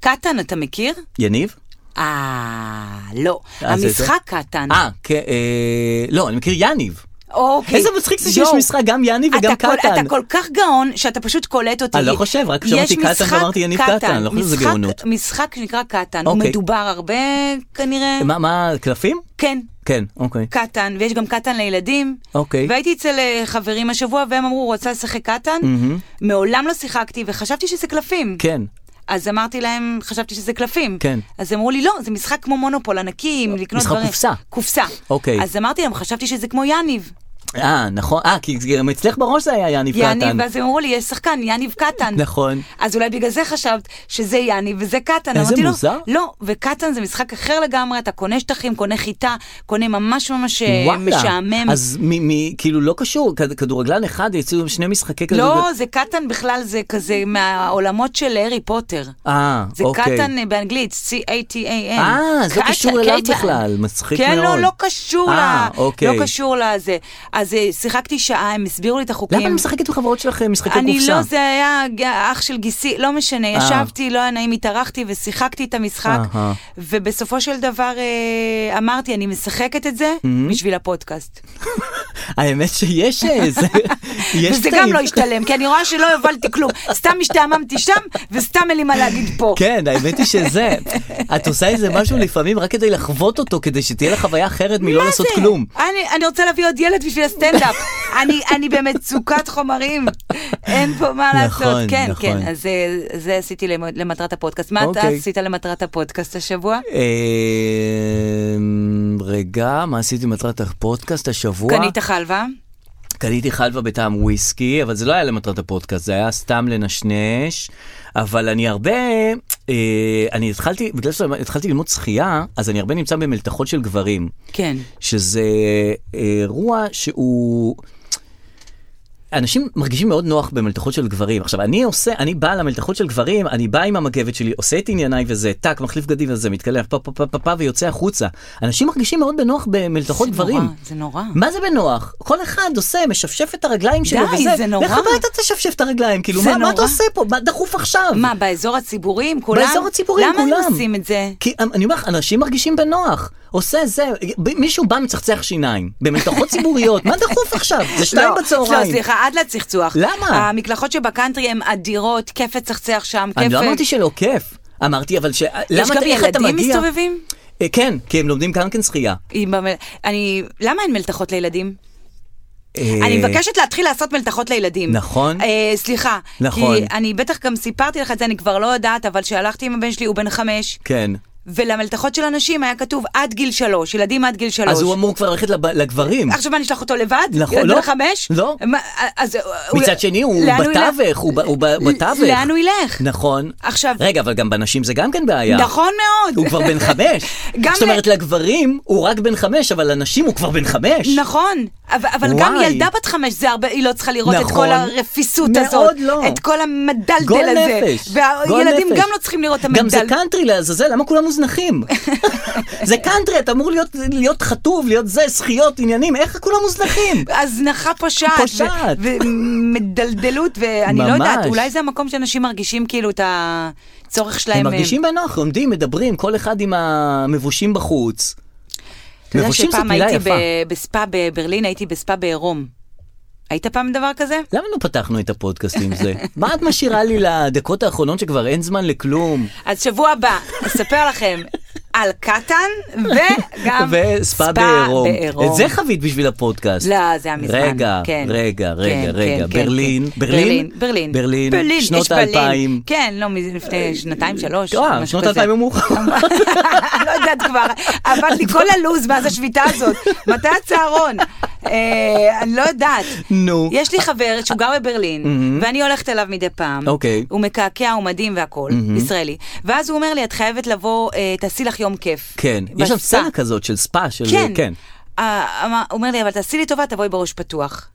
B: קטן, אתה מכיר?
A: יניב?
B: אה, לא.
A: אה, זה
B: המשחק קטן.
A: אה, כן, אה, לא, אני מכיר יניב.
B: אוקיי.
A: איזה מצחיק זה שיש
B: יואו.
A: משחק גם יניב
B: אתה
A: וגם
B: כל-
A: קטן.
B: אתה כל כך גאון, שאתה פשוט קולט אותי.
A: אני לא חושב, רק
B: יש
A: שמעתי קטן
B: משחק
A: ואמרתי, יניב קטן, לא חושב שזה
B: משחק-
A: גאונות.
B: משחק שנקרא קטן, הוא
A: אוקיי.
B: מדובר הרבה כנראה.
A: מה, מה, קלפים?
B: כן.
A: כן, אוקיי.
B: קטן, ויש גם קטן לילדים.
A: אוקיי.
B: והייתי אצל אה, חברים השבוע, והם אמרו, רוצה לשחק קטן? מעולם לא שיחקתי, וחשבתי שזה קלפים.
A: כן.
B: אז אמרתי להם, חשבתי שזה קלפים.
A: כן. לא,
B: אז אמרו לי, לא, זה משחק כמו מונופול ענקי, עם לקנות
A: משחק
B: דברים.
A: קופסה.
B: קופסה.
A: אוקיי.
B: אז אמרתי להם, חשבתי שזה כמו יניב.
A: אה, נכון. אה, כי זה גם אצלך בראש זה היה יניב
B: יניב,
A: קטן.
B: ואז הם אמרו לי, יש שחקן, יניב קטן.
A: נכון.
B: אז אולי בגלל זה חשבת שזה יניב וזה קטן.
A: איזה
B: אמרתי לו,
A: מוזר.
B: לא, וקטן זה משחק אחר לגמרי, אתה קונה שטחים, קונה חיטה, קונה ממש ממש אה,
A: וואלה.
B: משעמם.
A: אז מ- מ- כאילו לא קשור, כד- כדורגלן אחד יצאו שני משחקי כדורגל.
B: לא, זה קטן בכלל, זה כזה מהעולמות של הארי פוטר.
A: אה,
B: זה
A: אוקיי.
B: קטן אה, באנגלית, C-A-T-A-N.
A: אה, זה לא
B: קטן,
A: קשור אליו
B: קטן.
A: בכלל, מצחיק
B: כן,
A: מאוד.
B: כן, לא, לא קשור
A: אה,
B: ל...
A: אוקיי.
B: לא קשור לזה. אז אה, שיחקתי שעה, הם הסבירו לי את החוקים.
A: למה אני משחקת עם חברות שלך משחקי
B: אני
A: קופסה?
B: לא, זה היה ג- אח של גיסי, לא משנה,
A: אה.
B: ישבתי, לא היה נעים, התארחתי ושיחקתי את המשחק,
A: אהה.
B: ובסופו של דבר אה, אמרתי, אני משחקת את זה
A: Mm-hmm.
B: בשביל הפודקאסט.
A: האמת שיש איזה... יש
B: וזה גם
A: קטעים.
B: לא השתלם, כי אני רואה שלא הובלתי כלום, סתם השתעממתי שם, וסתם אין לי מה להגיד פה.
A: כן, האמת היא שזה. את עושה איזה משהו לפעמים רק כדי לחוות אותו, כדי שתהיה לך חוויה אחרת מלא
B: מה
A: לעשות
B: זה?
A: כלום.
B: אני, אני רוצה להביא עוד ילד בשביל הסטנדאפ. אני, אני במצוקת חומרים, אין פה מה
A: נכון,
B: לעשות. כן,
A: נכון.
B: כן, אז זה, זה עשיתי למ- למטרת הפודקאסט. מה אתה
A: אוקיי.
B: עשית למטרת הפודקאסט השבוע?
A: אמ, רגע, מה עשיתי במטרת הפודקאסט השבוע?
B: קנית חלבה?
A: קניתי חלבה בטעם וויסקי, אבל זה לא היה למטרת הפודקאסט, זה היה סתם לנשנש. אבל אני הרבה, אה, אני התחלתי, בגלל שהתחלתי ללמוד שחייה, אז אני הרבה נמצא במלתחות של גברים.
B: כן.
A: שזה אה, אירוע שהוא... אנשים מרגישים מאוד נוח במלתחות של גברים. עכשיו, אני עושה, אני בא למלתחות של גברים, אני בא עם המגבת שלי, עושה את ענייניי וזה, טאק, מחליף בגדים וזה, מתקלח, פה פה פה פה פה ויוצא החוצה. אנשים מרגישים מאוד בנוח במלתחות
B: זה
A: גברים.
B: נורא, זה נורא.
A: מה זה בנוח? כל אחד עושה, משפשף את הרגליים שלו
B: די,
A: וזה.
B: זה נורא.
A: לך הביתה תשפשף את הרגליים, כאילו,
B: זה
A: מה, מה
B: נורא.
A: אתה עושה פה? מה דחוף עכשיו?
B: מה, באזור הציבורי עם כולם?
A: באזור הציבורי עם
B: למה
A: כולם.
B: הם עושים את זה?
A: כי אמ, אני אומר לך, אנשים מרגישים בנוח, עושה זה, ב- מישהו בא מצחצח שיניים, במלתחות ציבוריות, מה דחוף עכשיו? זה שתיים
B: לא,
A: בצהריים.
B: לא, סליחה, עד לצחצוח.
A: למה?
B: המקלחות שבקאנטרי הן אדירות, כיף לצחצח שם, כיף...
A: אני לא אמרתי שלא כיף, אמרתי אבל ש...
B: יש
A: למה
B: גם
A: אתה- איך אתה
B: ילדים
A: מגיע?
B: מסתובבים?
A: אה, כן, כי הם לומדים גם כן שחייה.
B: עם המ- אני... למה אין מלתחות לילדים?
A: אה,
B: אני מבקשת להתחיל לעשות מלתחות לילדים.
A: נכון.
B: אה, סליחה.
A: נכון.
B: כי אני בטח גם סיפרתי לך את זה, אני כבר לא יודעת, אבל כשהלכתי עם הבן שלי, הוא בן חמש,
A: כן.
B: ולמלתחות של הנשים היה כתוב עד גיל שלוש, ילדים עד גיל שלוש.
A: אז הוא אמור כבר ללכת לב- לגברים.
B: עכשיו מה, נשלח אותו לבד?
A: נכון,
B: ילד
A: לא.
B: בן חמש?
A: לא.
B: מה, אז, הוא-
A: מצד שני, הוא
B: לאן ילך?
A: בתווך, הוא ב- הוא ב- בתווך.
B: לאן הוא ילך?
A: נכון.
B: עכשיו-
A: רגע, אבל גם בנשים זה גם כן בעיה.
B: נכון מאוד.
A: הוא כבר בן חמש.
B: גם
A: זאת אומרת, לגברים הוא רק בן חמש, אבל לנשים הוא כבר בן חמש.
B: נכון, אבל, אבל גם
A: וואי.
B: ילדה בת חמש, זה הרבה, היא לא צריכה לראות את
A: נכון.
B: כל הרפיסות
A: מאוד
B: הזאת.
A: לא.
B: את כל המדלדל
A: גול
B: הזה.
A: נפש. גול
B: והילדים
A: נפש.
B: גם לא צריכים לראות את המדל.
A: גם זה קאנטרי לעזאזל, למה כולם מוזנחים? זה קאנטרי, אתה אמור להיות- להיות חטוב, להיות זה, זכיות, עניינים, איך כולם מוזנחים?
B: הזנחה פושעת.
A: פושעת.
B: ומדלדלות, ואני לא יודעת,
A: ממש.
B: אולי זה המקום שאנשים מרגישים כאילו את הצורך שלהם.
A: הם מרגישים בנוח, עומדים, מדברים, כל אחד עם המבושים בחוץ.
B: אתה יודע
A: מבושים זאת
B: שפעם
A: מילה
B: הייתי
A: יפה.
B: ב- בספא בברלין, הייתי בספא בעירום. היית פעם דבר כזה?
A: למה לא פתחנו את הפודקאסט עם זה? מה את משאירה לי לדקות האחרונות שכבר אין זמן לכלום?
B: אז שבוע הבא, אספר לכם על קטן וגם
A: וספא בעירום. את זה חווית בשביל הפודקאסט.
B: לא, זה היה מזמן.
A: רגע,
B: כן.
A: רגע, רגע,
B: כן,
A: רגע.
B: כן,
A: ברלין,
B: כן.
A: ברלין,
B: ברלין,
A: ברלין,
B: יש
A: שנות
B: ברלין.
A: האלפיים.
B: כן, לא, מזה- לפני שנתיים, שלוש,
A: אה,
B: משהו
A: שנות
B: כזה.
A: האלפיים המאוחרות.
B: לא יודעת כבר, עבד לי כל הלו"ז מאז השביתה הזאת. מתי הצהרון? אה, אני לא יודעת.
A: נו.
B: יש לי חבר שהוא גר בברלין, ואני הולכת אליו מדי פעם.
A: אוקיי.
B: הוא מקעקע, הוא מדהים והכול, ישראלי. ואז הוא אומר לי, את חייבת לבוא, אה, תעשי לך יום כיף.
A: כן, יש שם
B: בספה.
A: סצנה כזאת של ספא, של...
B: כן.
A: כן.
B: אה, אמר- הוא אומר לי, אבל תעשי לי טובה, תבואי בראש פתוח.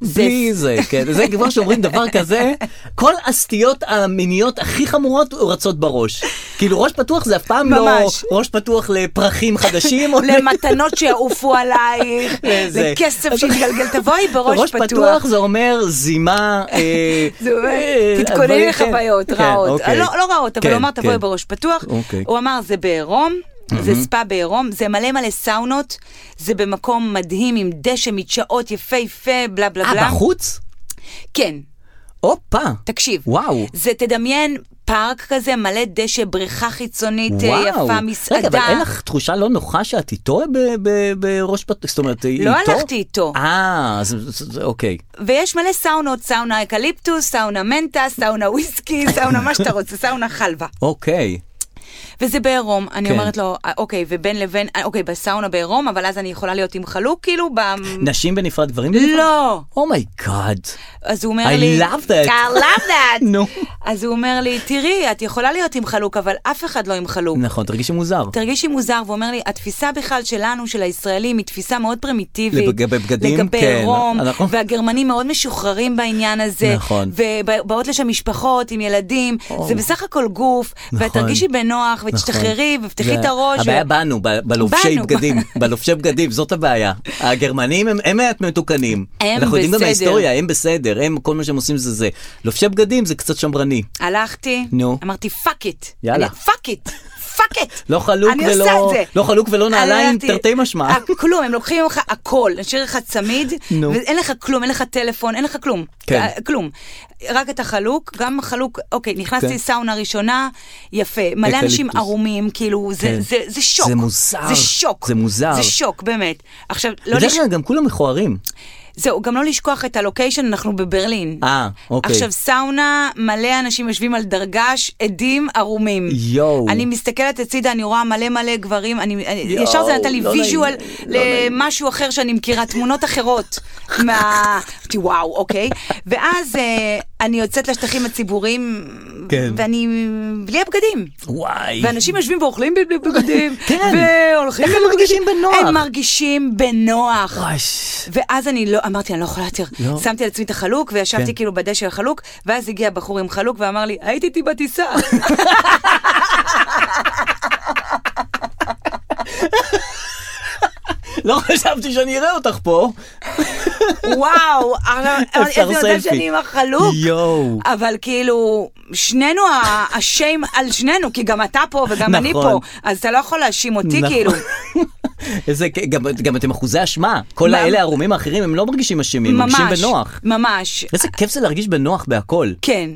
B: זה
A: בלי זה, כן, זה כמו שאומרים דבר כזה, כל הסטיות המיניות הכי חמורות רצות בראש. כאילו ראש פתוח זה אף פעם לא
B: ממש.
A: ראש פתוח לפרחים חדשים, או ל-
B: למתנות שיעופו עלייך,
A: לזה.
B: לכסף שיתגלגל, תבואי בראש
A: ראש
B: פתוח.
A: פתוח זה אומר זימה, אה,
B: זה אומר,
A: אה,
B: תתכונני
A: הדברים-
B: לחוויות
A: כן,
B: רעות.
A: אוקיי.
B: לא לא רעות, אבל
A: כן,
B: הוא אמר תבואי
A: כן.
B: בראש פתוח.
A: אוקיי.
B: הוא אמר זה בעירום. זה ספא בעירום, זה מלא מלא סאונות, זה במקום מדהים עם דשא, מדשאות יפהפה, בלה בלה בלה.
A: אה, בחוץ?
B: כן,
A: הופה.
B: תקשיב.
A: וואו.
B: זה תדמיין פארק כזה, מלא דשא, בריכה חיצונית אה,
A: וואו.
B: יפה,
A: רגע, אבל
B: מסעדה.
A: אין לך תחושה לא נוחה שאת איתו ב- ב- בראש פתוח? זאת אומרת, איתו?
B: לא הלכתי איתו.
A: אה, אז- אז- אוקיי.
B: ויש מלא סאונות, סאונה אקליפטוס, סאונה מנטה, סאונה וויסקי, סאונה מה שאתה רוצה, סאונה חלבה.
A: אוקיי.
B: וזה בעירום, אני
A: כן.
B: אומרת לו, "אה, אוקיי, ובין לבין, אה, אוקיי, בסאונה בעירום, אבל אז אני יכולה להיות עם חלוק, כאילו, ב...
A: נשים בנפרד, גברים בנפרד? Oh
B: לא.
A: אומייגאד.
B: אז הוא אומר
A: I
B: לי,
A: love that.
B: I love that.
A: נו.
B: אז הוא אומר לי, תראי, את יכולה להיות עם חלוק, אבל אף אחד לא עם חלוק.
A: נכון, תרגישי מוזר.
B: תרגישי מוזר, והוא אומר לי, התפיסה בכלל שלנו, של הישראלים, היא תפיסה מאוד פרימיטיבית.
A: לגבי בגדים,
B: לגבי
A: כן,
B: עירום,
A: אנחנו-
B: והגרמנים מאוד משוחררים בעניין הזה.
A: נכון.
B: ובאות לשם משפחות עם ילדים,
A: או.
B: זה בסך הכל גוף,
A: נכון.
B: ואת תרגישי בנוח, ותשתחררי,
A: נכון.
B: ופתחי
A: זה-
B: את הראש.
A: הבעיה
B: ו-
A: בנו, ב- בלובשי
B: בנו.
A: בגדים. בלובשי בגדים, זאת הבעיה. הגרמנים הם- הם מעט מתוקנים.
B: הם
A: אנחנו יודעים גם
B: בסדר.
A: מההיסטוריה, הם בסדר, הם, כל מה שהם עושים זה זה. לובשי בגדים זה קצת שמרני.
B: הלכתי,
A: נו.
B: אמרתי, פאק איט.
A: יאללה.
B: פאק איט. פאק איט.
A: לא חלוק
B: אני
A: ולא-
B: עושה את זה.
A: לא חלוק ולא
B: אני
A: נעליים,
B: הלכתי-
A: תרתי משמע.
B: אה, כלום, הם לוקחים ממך הכל, נשאיר לך צמיד,
A: נו.
B: ואין לך כלום, אין לך טלפון, אין לך כלום.
A: כן.
B: אה, כלום. רק את החלוק, גם החלוק, אוקיי,
A: כן.
B: נכנסתי סאונה ראשונה, יפה. מלא אנשים
A: אקליפטוס.
B: ערומים, כאילו, זה-
A: כן.
B: זה זה שוק.
A: זה מוזר.
B: זה שוק.
A: זה מוזר.
B: זה שוק, באמת. עכשיו, לא
A: בדרך
B: לש-
A: כלל גם כולם מכוערים.
B: זהו, גם לא לשכוח את הלוקיישן, אנחנו בברלין.
A: אה, אוקיי.
B: עכשיו, סאונה, מלא אנשים יושבים על דרגש, עדים ערומים.
A: יואו.
B: אני מסתכלת הצידה, אני רואה מלא מלא גברים, אני, אני-
A: יואו,
B: ישר זה נתן לי
A: לא
B: ויז'ואל
A: נעים, לא
B: למשהו אחר שאני מכירה, תמונות אחרות. מה... אמרתי, וואו, אוקיי. ואז אה, אני יוצאת לשטחים הציבוריים,
A: כן.
B: ואני בלי הבגדים.
A: וואי.
B: ואנשים יושבים ואוכלים בלי בגדים,
A: כן.
B: והולכים
A: איך הם
B: בלי
A: מרגישים
B: בגדים.
A: בנוח?
B: הם מרגישים בנוח.
A: אוי,
B: ואז אני לא, אמרתי, אני לא יכולה יותר.
A: לא.
B: שמתי על עצמי את החלוק, וישבתי
A: כן.
B: כאילו בדשא החלוק, ואז הגיע בחור עם חלוק ואמר לי, היית איתי בטיסה.
A: לא חשבתי שאני אראה אותך פה.
B: וואו, עכשיו, אבל
A: אפשר
B: איזה מזל
A: סלפי.
B: שאני עם החלוק.
A: יואו.
B: אבל כאילו, שנינו, ה- השם על שנינו, כי גם אתה פה וגם אני
A: נכון.
B: פה, אז אתה לא יכול להאשים אותי,
A: נכון.
B: כאילו.
A: איזה, גם, גם אתם אחוזי אשמה. כל
B: מה-
A: האלה הערומים האחרים הם לא מרגישים אשמים, הם
B: ממש.
A: מרגישים בנוח.
B: ממש.
A: איזה כיף זה להרגיש בנוח בהכל.
B: כן.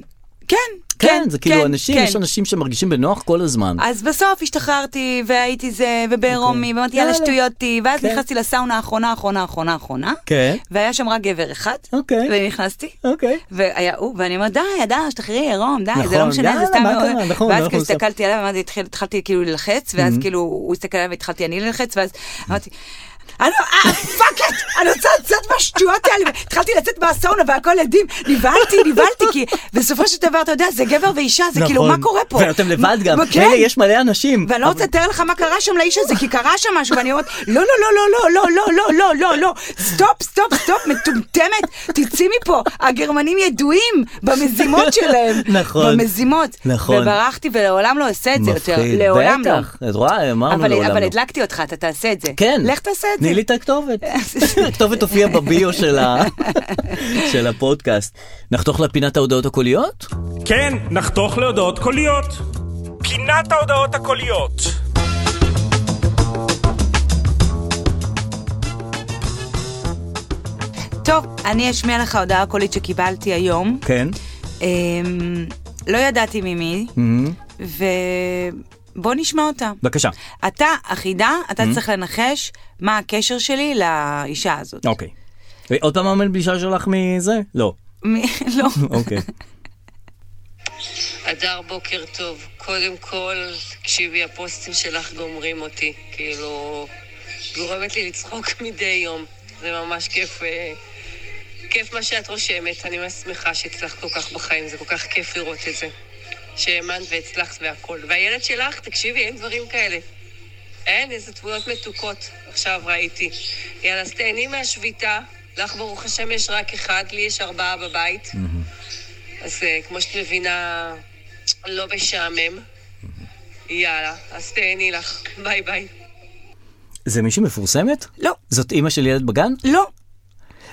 B: כן.
A: כן,
B: כן,
A: זה כאילו
B: כן,
A: אנשים,
B: כן.
A: יש אנשים שמרגישים בנוח כל הזמן.
B: אז בסוף השתחררתי, והייתי זה, ובעירומי, ואמרתי, יאללה
A: אוקיי. יאללה.
B: שטויותי, ואז
A: כן.
B: נכנסתי לסאונה האחרונה, האחרונה, האחרונה, האחרונה,
A: כן.
B: והיה שם רק גבר אחד,
A: אוקיי.
B: ונכנסתי,
A: אוקיי.
B: והיה הוא, ואני אומרת, די, די, שתחררי עירום, די, זה
A: נכון,
B: לא משנה,
A: יאללה,
B: זה סתם...
A: מה
B: מאוד."
A: קרה? נכון,
B: ואז
A: אנחנו
B: כאילו
A: סתם-
B: הסתכלתי עליו, אמרתי, "התחיל- התחלתי כאילו ללחץ, ואז
A: Mm-hmm.
B: כאילו הוא הסתכל עליו והתחלתי אני ללחץ, ואז אמרתי... אני לא, אה, פאק את, אני רוצה לצאת מהשטויות האלה, התחלתי לצאת מהסאונה והכל עדים, נבהלתי, נבהלתי, כי בסופו של דבר, אתה יודע, זה גבר ואישה, זה כאילו, מה
A: נכון.
B: קורה פה?
A: ואתם לבד גם,
B: מה- כן.
A: מילא יש מלא אנשים.
B: ואני לא רוצה לתאר לך מה קרה שם לאיש הזה, כי קרה שם משהו, ואני אומרת, לא, לא, לא, לא, לא, לא, לא, לא, לא, לא, סטופ, סטופ, סטופ, מטומטמת, תצאי מפה, הגרמנים ידועים במזימות שלהם.
A: נכון.
B: במזימות.
A: נכון.
B: וברחתי, ולעולם לא אעשה את זה יותר,
A: מפחיד.
B: לעולם לא.
A: בטח, את רואה, אמרנו
B: אבל
A: לעולם
B: אבל
A: לא.
B: הדלקתי אותך, אתה תעשה את זה.
A: כן.
B: לך תעשה את זה.
A: תני לי את הכתובת. הכתובת הופיעה בביו של ה- של הפודקאסט. נחתוך לפינת ההודעות הקוליות?
C: כן, נחתוך להודעות קוליות. פינת ההודעות הקוליות.
B: טוב, אני אשמיע לך הודעה קולית שקיבלתי היום.
A: כן.
B: אמ, לא ידעתי ממי, ובוא נשמע אותה.
A: בבקשה.
B: אתה, החידה, אתה
A: Mm-hmm.
B: צריך לנחש מה הקשר שלי לאישה הזאת.
A: אוקיי. עוד פעם המלבישה שלך מזה? לא.
B: מ- לא.
A: אוקיי.
E: אדר, בוקר טוב. קודם כל, תקשיבי, הפוסטים שלך גומרים אותי. כאילו, גורמת לי לצחוק מדי יום. זה ממש כיף. אה, כיף מה שאת רושמת. אני ממש שמחה שהצלחת כל כך בחיים, זה כל כך כיף לראות את זה. שהאמנת והצלחת והכל. והילד שלך, תקשיבי, אין דברים כאלה. אין, איזה תמונות מתוקות. עכשיו ראיתי. יאללה, אז תהני מהשביתה. לך, ברוך השם, יש רק אחד, לי יש ארבעה בבית. אז אה, כמו שאת מבינה, לא משעמם. יאללה, אז תהני לך. ביי ביי.
A: זה מישהי מפורסמת?
B: לא.
A: זאת אימא של ילד בגן?
B: לא.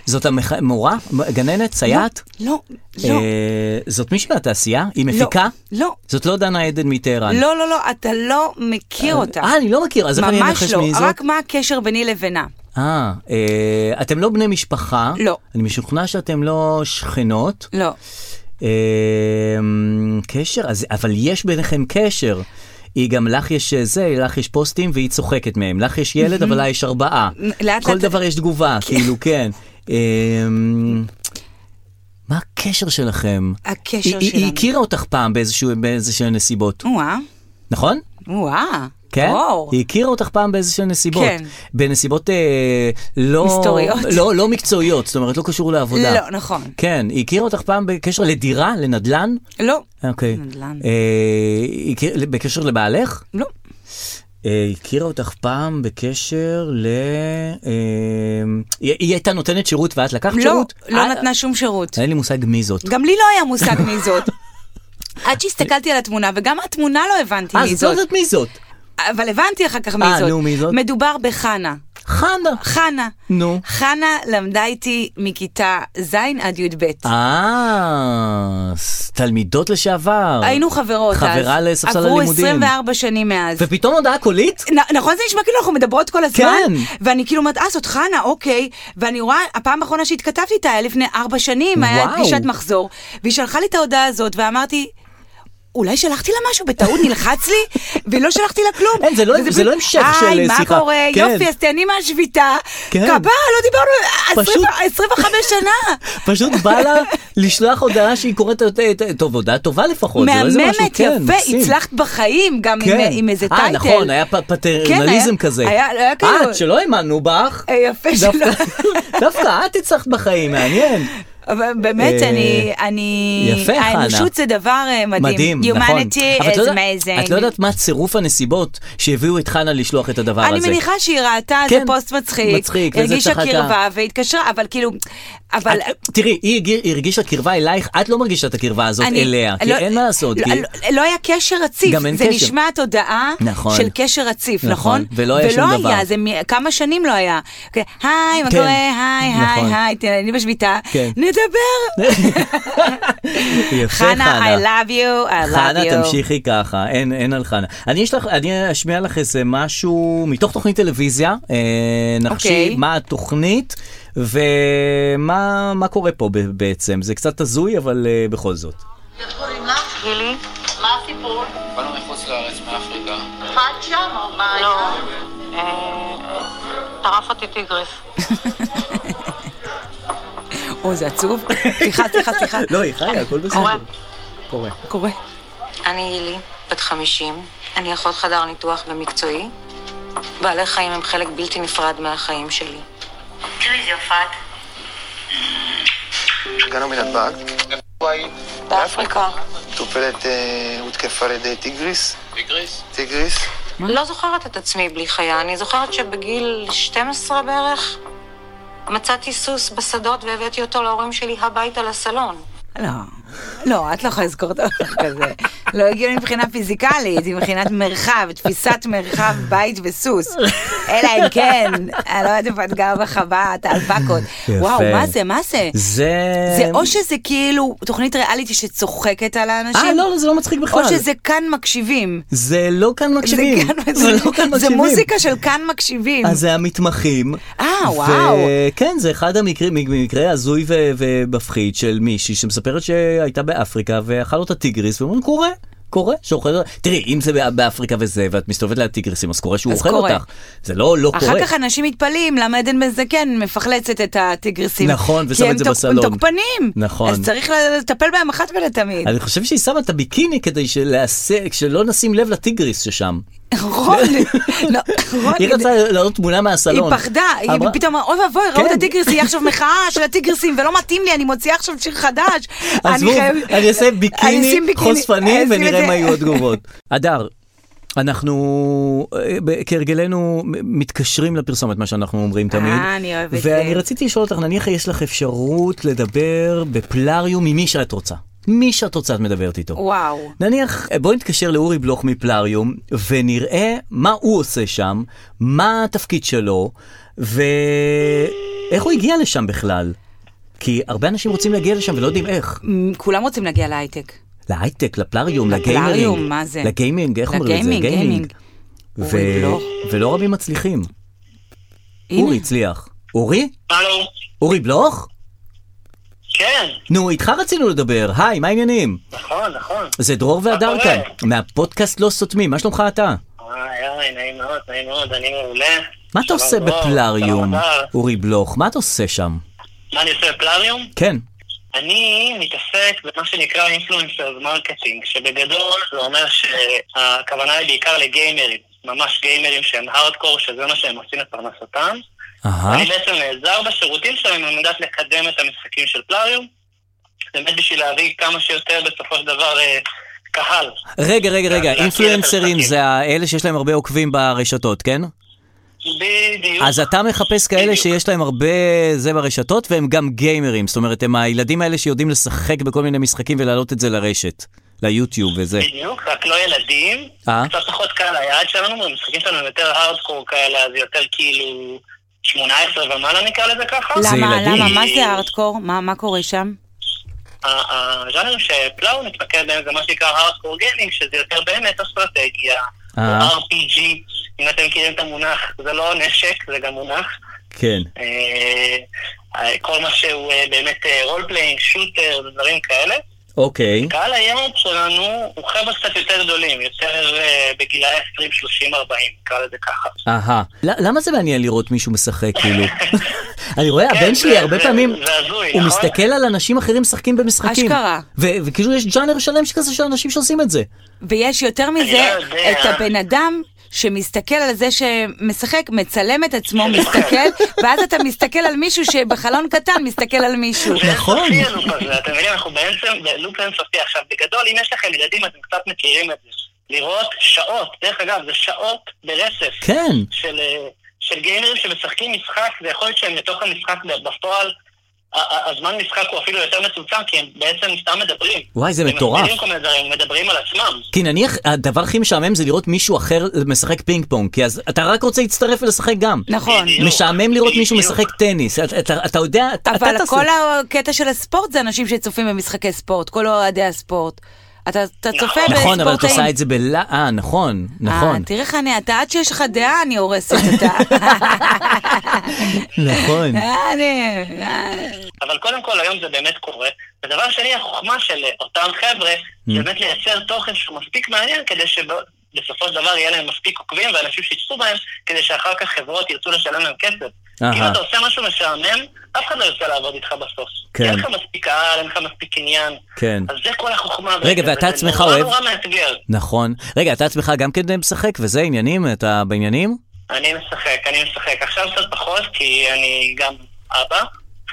A: זאת המורה? גננת? סייעת?
B: לא. לא.
A: אה, זאת מישהי מהתעשייה? היא מפיקה?
B: לא.
A: זאת לא דנה עדן מטהרן.
B: לא, לא, לא, אתה לא מכיר אותה.
A: אה, אני לא מכיר, אז איך אני
B: ממש
A: אנחש
B: לא.
A: מי זאת?
B: רק מה הקשר ביני לבינה.
A: אה, אה, אתם לא בני משפחה.
B: לא.
A: אני משוכנע שאתם לא שכנות.
B: לא.
A: אה, קשר, אז, אבל יש ביניכם קשר. היא גם לך יש אה, זה, לך יש פוסטים והיא צוחקת מהם. לך יש ילד, אבל לה יש ארבעה.
B: לאט
A: כל
B: לאט-
A: דבר יש תגובה, כאילו, כן. אה, מה הקשר שלכם?
B: הקשר
A: היא- היא- היא
B: שלנו.
A: הכירה אותך פעם באיזשהו- באיזשהן נסיבות,
B: וואה.
A: נכון?
B: וואה.
A: כן?
B: וואו.
A: היא הכירה אותך פעם באיזשהן נסיבות.
B: כן.
A: בנסיבות אה, לא...
B: מסתוריות.
A: לא, לא מקצועיות, זאת אומרת, לא קשור לעבודה.
B: לא, נכון.
A: כן, היא הכירה אותך פעם בקשר לדירה, לנדל"ן?
B: לא.
A: אוקיי.
B: נדל"ן.
A: אה, היא הכיר- בקשר לבעלך?
B: לא.
A: אה, היא הכירה אותך פעם בקשר ל... אה, היא היא הייתה נותנת שירות ואת לקחת
B: לא.
A: שירות? אה,
B: לא נתנה שום שירות.
A: אין לי מושג מי זאת.
B: גם לי לא היה מושג מי זאת. עד שהסתכלתי על התמונה, וגם התמונה לא הבנתי
A: אה,
B: מי
A: זאת לא
B: זאת.
A: יודעת מי זאת.
B: אבל הבנתי אחר כך מי
A: אה,
B: זאת.
A: נו, מי זאת?
B: מדובר בחנה.
A: חנה.
B: חנה.
A: נו.
B: חנה למדה איתי מכיתה ז' עד י"ב.
A: אה, ס- תלמידות לשעבר.
B: היינו חברות אז.
A: חברה לספסל
B: עברו
A: הלימודים.
B: 24 שנים מאז.
A: ופתאום הודעה קולית?
B: נ- נכון זה נשמע כאילו אנחנו מדברות כל הזמן?
A: כן.
B: ואני כאילו אומרת, אה, זאת חנה, אוקיי. ואני רואה, הפעם האחרונה שהתכתבתי איתה היה לפני ארבע שנים, היה
A: וואו.
B: פגישת מחזור, והיא שלחה לי את ההודעה הזאת, ואמרתי... אולי שלחתי לה משהו, בטעות נלחץ לי, ולא שלחתי לה כלום.
A: אין, זה לא-
B: וזה
A: זה
B: פשוט,
A: לא המשך של
B: היי,
A: שיחה."
B: מה קורה?
A: כן.
B: יופי, אז תהני מהשביתה.
A: כן.
B: קבע, לא דיברנו
A: פשוט-
B: 20 25 שנה.
A: פשוט בא לה לשלוח הודעה שהיא קוראת, את- את- טוב, הודעה טובה לפחות. זה לא איזה משהו,
B: מהממת,
A: כן,
B: יפה,
A: מקסים.
B: הצלחת בחיים, גם עם-
A: כן.
B: עם איזה
A: אה,
B: טייטל.
A: נכון, היה פ- פטרנליזם
B: כן,
A: כזה. אה,
B: היה- היה כאילו-
A: את, שלא האמנו בך.
B: אה, יפה שלא.
A: דווקא- דווקא את הצלחת בחיים, מעניין.
B: אבל באמת,
A: אה,
B: אני... אני...
A: יפה, חנה.
B: האנושות זה דבר אה, מדהים.
A: מדהים, נכון.
B: Humanity
A: אבל את לא
B: is
A: יודעת-
B: amazing.
A: את לא יודעת מה צירוף הנסיבות שהביאו את חנה לשלוח את הדבר
B: אני
A: הזה.
B: מניחה שהיא ראתה איזה
A: כן,
B: פוסט מצחיק,
A: מצחיק, וזה
B: הרגישה
A: צחקה.
B: קרבה והתקשרה, אבל כאילו, אבל
A: את- תראי, היא הגיר- היא הרגישה קרבה אלייך, את לא מרגישה את הקרבה הזאת
B: אני-
A: אליה, כי
B: לא-
A: אין מה לעשות.
B: לא-
A: כי-
B: לא- לא היה קשר רציף,
A: גם אין
B: זה
A: קשר.
B: נשמע תודעה
A: נכון.
B: של קשר רציף,
A: נכון,
B: נכון?
A: ולא היה שום
B: ולא
A: דבר.
B: היה, זה מ- כמה שנים לא היה. כן, היי, מה
A: כן,
B: קורה? היי,
A: נכון.
B: היי, היי, תהני בשביתה,
A: כן.
B: נדבר.
A: יפה,
B: חנה, I love you, I love you.
A: חנה, תמשיכי ככה, אין, אין על חנה. אני, יש לך, אני אשמיע לך איזה משהו מתוך תוכנית טלוויזיה, אה, נחשי
B: אוקיי.
A: מה התוכנית ומה מה קורה פה ב- בעצם. זה קצת הזוי, אבל אה, בכל זאת.
F: איך קוראים לך? גילי?
G: מה הסיפור?
H: באנו מחוץ לארץ, מאפריקה.
G: חד שם או מה? לא. אה, טרף אותי טיגריס.
B: או, זה עצוב. סליחה, סליחה, סליחה.
A: לא, היא חיה, הכל בסדר.
G: קורה.
A: קורה.
B: קורה.
G: אני הילי, בת 50. אני אחות חדר ניתוח במקצועי. בעלי חיים הם חלק בלתי נפרד מהחיים שלי. תראי, זה הופעת.
I: הגענו מנתב"ג,
H: איפה היית?
G: באפריקה.
I: מטופלת אה, הותקפה על ידי טיגריס,
H: בגריס?
I: טיגריס,
G: לא זוכרת את עצמי בלי חיה. אני זוכרת שבגיל 12 בערך מצאתי סוס בשדות והבאתי אותו להורים שלי הביתה לסלון.
B: לא. לא, את לא יכולה לזכור דבר כזה. לא הגיוני מבחינה פיזיקלית, היא מבחינת מרחב, תפיסת מרחב, בית וסוס. אלא אם כן, אני לא יודעת איפה את גרה בחווה, את האלפקות.
A: יפה.
B: וואו, מה זה, מה זה?
A: זה...
B: זה או שזה כאילו תוכנית ריאליטי שצוחקת על האנשים,
A: אה, לא, לא, זה לא מצחיק בכלל.
B: או שזה כאן מקשיבים.
A: זה לא כאן
B: שזה
A: מקשיבים.
B: כאן-
A: זה לא כאן
B: זה
A: מקשיבים.
B: מוזיקה של כאן מקשיבים.
A: אז זה המתמחים.
B: אה, וואו.
A: כן, זה אחד המקרים, מקרה הזוי ו- ומפחיד של מישהי שמספרת שהייתה באפריקה ואכל אותה טיגריס, ואומרים, קורה. קורה, שאוכל... תראי, אם זה בא- באפריקה וזה, ואת מסתובבת ליד טיגריסים, אז קורה שהוא
B: אז
A: אוכל
B: קורה.
A: אותך. זה לא, לא קורה.
B: אחר כך אנשים מתפלאים למה עדן בן זקן מפחלצת את הטיגרסים.
A: נכון, ושם
B: כי
A: את זה
B: הם תוק-
A: בסלון.
B: הם תוקפנים.
A: נכון.
B: אז צריך לטפל בהם אחת ולתמיד.
A: אני חושב שהיא שמה את הביקיני כדי שלעשה, שלא נשים לב לטיגריס ששם.
B: רון, לא, רון,
A: היא רצה להעלות תמונה
B: היא
A: מהסלון.
B: פחדה, היא
A: אמרה-
B: פתאום, אוי ואבוי, ראו
A: כן.
B: את הטיגרס, היא עכשיו מחאה של הטיגרסים, ולא מתאים לי, אני מוציאה עכשיו שיר חדש. אני
A: עזבו,
B: חייב-
A: אני אעשה
B: אני
A: ביקיני
B: אשים ביקיני,
A: חושפני
B: אשים את
A: ונראה
B: זה.
A: מה יהיו התגובות. הדר, אנחנו אה, ב- כהרגלנו מ- מתקשרים לפרסומת, מה שאנחנו אומרים תמיד.
B: אה, אני אוהבת זה.
A: ואני רציתי לשאול אותך, נניח יש לך אפשרות לדבר בפלאריום עם מי שאת רוצה. מי שאת רוצה את מדברת איתו.
B: וואו.
A: נניח, אה, בואי נתקשר לאורי בלוך מפלאריום ונראה מה הוא עושה שם, מה התפקיד שלו, ואיך הוא הגיע לשם בכלל. כי הרבה אנשים רוצים להגיע לשם ולא יודעים איך.
B: מ, כולם רוצים להגיע להייטק.
A: להייטק, לפלאריום,
B: לפלאריום,
A: לגיימרינג.
B: מה זה?
A: לגיימינג, איך אומרים את זה?
B: לגיימינג, גיימינג.
A: ו-
B: אורי בלוך.
A: ולא רבים מצליחים. אורי
B: הנה,
A: הצליח. אורי?
F: הלו?
A: אורי בלוך?
F: כן,
A: נו, איתך רצינו לדבר. היי, מה העניינים?
F: נכון, נכון.
A: זה דרור והדר
F: קורה?
A: כאן, מהפודקאסט לא סותמים, מה שלומך אתה?
F: אה, אוי, נעים מאוד, נעים מאוד, אני מעולה.
A: מה אתה
F: שלום
A: עושה
F: דרור,
A: בפלאריום,
F: שלום הדר.
A: אורי בלוך? מה אתה עושה שם?
F: מה אני עושה בפלאריום?
A: כן.
F: אני מתעסק במה שנקרא אינפלואנסרס מרקטינג, שבגדול זה אומר שהכוונה היא בעיקר לגיימרים, ממש גיימרים שהם הארדקור, שזה מה שהם עושים לפרנסתם.
A: אהה,
F: אני בעצם נעזר בשירותים שלהם על מנת לקדם את המשחקים של פלאריום, באמת בשביל להביא כמה שיותר בסופו של דבר אה, קהל.
A: רגע, רגע, רגע,
F: להכיר את
A: אינפלואנסרים
F: המשחקים.
A: זה האלה שיש להם הרבה עוקבים ברשתות, כן?
F: בדיוק.
A: אז אתה מחפש כאלה
F: בדיוק.
A: שיש להם הרבה זה ברשתות והם גם גיימרים, זאת אומרת הם הילדים האלה שיודעים לשחק בכל מיני משחקים ולהעלות את זה לרשת, ליוטיוב וזה.
F: בדיוק, רק לא ילדים.
A: אה?
F: קצת פחות קהל היעד שלנו, המשחקים שלנו הם יותר הארדקור כאלה, אז יותר כאילו 18 ומעלה נקרא לזה ככה.
A: זה
B: למה,
A: ילדים.
B: למה, מה זה הארדקור? מה מה קורה שם?
F: ה- הז'אנרים שפלאו מתמקד בהם זה מה שנקרא הארדקור גיימינג, שזה יותר באמת אסטרטגיה, או
A: אה.
F: RPG, אם אתם מכירים את המונח, זה לא נשק, זה גם מונח.
A: כן.
F: אה, אה, כל מה שהוא אה, באמת רול פליינג, שוטר, דברים כאלה.
A: אוקיי.
F: קהל היעד שלנו הוא חבר'ה קצת יותר גדולים, יותר אה, בגילאי 20, 30, 40, נקרא לזה ככה.
A: אהה. ל- למה זה מעניין לראות מישהו משחק כאילו? אני רואה,
F: כן,
A: אה, הבן שלי
F: זה-
A: הרבה
F: זה-
A: פעמים,
F: זה הזוי,
A: הוא
F: נכון?
A: מסתכל על אנשים אחרים משחקים במשחקים.
B: אשכרה.
A: ו- וכאילו יש ג'אנר שלם שכזה של אנשים שעושים את זה.
B: ויש יותר מזה,
F: לא יודע.
B: את הבן אדם שמסתכל על זה שמשחק, מצלם את עצמו, מסתכל, ואז אתה מסתכל על מישהו שבחלון קטן מסתכל על מישהו.
F: זה
A: נכון.
F: אינסופי הלופ הזה, אתם מבינים, אנחנו בעצם בלופ אינסופי. עכשיו, בגדול, אם יש לכם ילדים, אתם קצת מכירים את זה. לראות שעות, דרך אגב, זה שעות ברצף.
A: כן.
F: של, אה, של גיימרים שמשחקים משחק, ויכול להיות שהם לתוך המשחק בפועל, ה- ה- הזמן משחק הוא אפילו יותר מצומצם, כי הם בעצם סתם מדברים.
A: וואי, זה
F: הם
A: מטורף.
F: מסבירים כל מיני דברים, הם מדברים על עצמם.
A: כי נניח הדבר הכי משעמם זה לראות מישהו אחר משחק פינג פונג, כי אז אתה רק רוצה להצטרף ולשחק גם.
B: נכון.
F: בדיוק.
A: משעמם לראות מישהו
F: לא. כאילו- בדיוק.
A: משחק טניס, אתה- אתה אתה יודע, אתה
B: אבל
A: תעשה.
B: כל הקטע של הספורט זה אנשים שצופים במשחקי ספורט, כל אוהדי הספורט. אתה אתה צופה
F: נכון,
A: נכון, אבל את
B: בספורטאים.
A: עושה את זה בלה... אה, נכון,
B: אה,
A: נכון.
B: תראה לך, אני- אתה עד שיש לך דעה, אני הורסת אותה.
A: נכון.
B: אה, אני- אה.
F: אבל קודם כל היום זה באמת קורה. ודבר שני, החוכמה של אותם חבר'ה,
A: Mm.
F: זה באמת לייצר תוכן שהוא מספיק מעניין כדי שבסופו של דבר יהיה להם מספיק עוקבים ואנשים שיצפו בהם, כדי שאחר כך חברות ירצו לשלם להם כסף.
A: אהה.
F: אם אתה עושה משהו משעמם, אף אחד לא ירצה לעבוד איתך בסוף.
A: כן.
F: אין לך מספיק קהל, אין לך מספיק עניין.
A: כן.
F: אז זה כל החוכמה.
A: רגע,
F: בעצם,
A: ואתה
F: וזה
A: עצמך
F: נורא
A: אוהב?
F: נורא מאתגר.
A: נכון. רגע, אתה עצמך גם כן משחק וזה עניינים? אתה בעניינים?
F: אני משחק, אני משחק. עכשיו קצת פחות, כי אני גם אבא.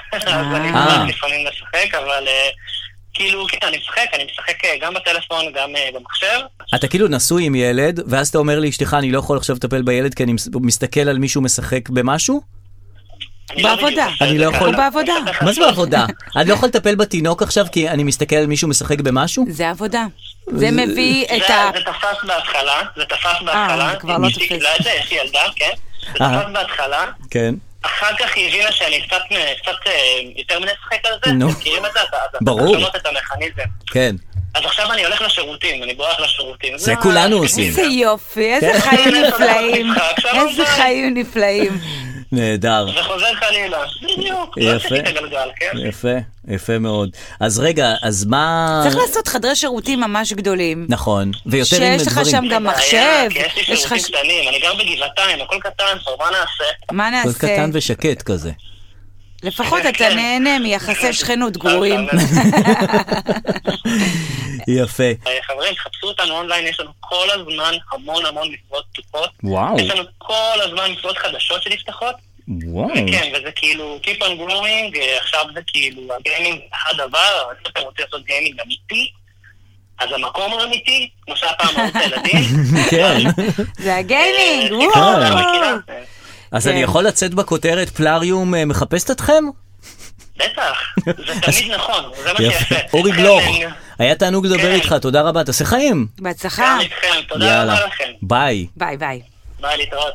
F: אז אני
A: אה.
F: ממש לפעמים משחק, אבל אה, כאילו, כן, אני משחק, אני משחק אה, גם בטלפון, גם אה, במחשב.
A: אתה כאילו נשוי עם ילד, ואז אתה אומר לאשתך, אני לא יכול עכשיו לטפל בילד כי אני מס- מסתכל על מישהו משחק במשהו?
F: אני לא
B: בעבודה.
F: בדיוק עושה
A: אני
F: את
A: לא
F: זה
A: יכול-
F: ככה.
B: הוא בעבודה.
A: מה זה בעבודה? אני לא יכול לטפל בתינוק עכשיו כי אני מסתכל על מישהו משחק במשהו?
B: זה עבודה. זה מביא את
F: זה
B: ה...
F: זה תפס בהתחלה, זה תפס בהתחלה.
B: זה כבר לא
F: אשתי
B: תופס.
F: קיבלה את זה, יש לי ילדה, כן? זה
A: אה.
F: תפס בהתחלה.
A: כן.
F: אחר כך היא הבינה שאני קצת, אה, קצת אה, יותר מדי משחק על
A: נו.
F: זה, מכירים את זה, אתה- אתה-
A: ברור.
F: אתה שומע את המכניזם.
A: כן.
F: אז עכשיו אני הולך לשירותים, אני בורח לשירותים. אה,
A: זה כולנו עושים.
B: איזה יופי,
A: כן.
B: איזה חיים נפלאים.
F: שלום,
B: איזה
F: ביי.
B: חיים נפלאים.
A: נהדר.
F: וחוזר חלילה. בדיוק. לא
A: יפה.
F: עשיתי את הגלגל, כן?
A: יפה, יפה מאוד. אז רגע, אז מה...
B: צריך לעשות חדרי שירותים ממש גדולים.
A: נכון, ויותר עם
B: שיש לך
A: דברים.
B: שם גם
F: בעיה,
B: מחשב.
F: כי יש לי
B: יש לך...
F: שירותים קטנים, אני גר בגבעתיים, הכל קטן, כבר מה נעשה?
B: מה
A: כל
B: נעשה?
A: קטן ושקט כזה.
B: לפחות נכון, אתה
F: כן. לא,
B: נהנה מיחסי שכנות גרועים.
A: יפה.
F: אה, חברים, חפשו אותנו אונליין, יש לנו כל הזמן המון המון משרות פתוחות.
A: וואו.
F: יש לנו כל הזמן משרות חדשות שנפתחות.
A: וואו.
F: כן, וזה כאילו Keep on growing, אה, עכשיו זה כאילו הגיימינג זה הדבר, אבל אם אתם רוצים לעשות גיימינג אמיתי, אז המקום הוא אמיתי, כמו שהיה פעם ערוץ הילדים.
A: כן.
B: זה
F: אה,
B: הגיימינג,
F: כן,
B: וואו.
F: זה המקהלה, אה,
A: אז
B: כן.
A: אני יכול לצאת בכותרת פלאריום אה, מחפשת אתכם?
F: בטח, זה תמיד נכון, זה מה שיפה.
A: אורי בלוך,
F: כן,
A: היה תענוג לדבר
F: כן.
A: איתך, תודה רבה, תעשה חיים.
B: בהצלחה.
F: גם איתכם, תודה רבה לכם.
A: ביי.
B: ביי ביי.
F: ביי, להתראות.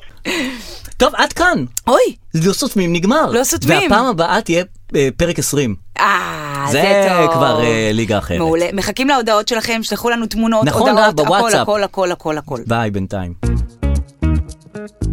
A: טוב, עד כאן.
B: אוי!
A: לא סותמים נגמר.
B: לא סותמים.
A: והפעם הבאה תהיה אה, פרק 20.
B: אה,
A: זה
B: זה טוב.
A: כבר, אה, ליגה אחרת.
B: מעולה. מחכים להודעות שלכם, שלחו לנו תמונות,
A: נכון,
B: הודעות,
A: בוואטסאפ.
B: הכל, הכל, הכל, הכל, הכל.
A: ביי בינתיים.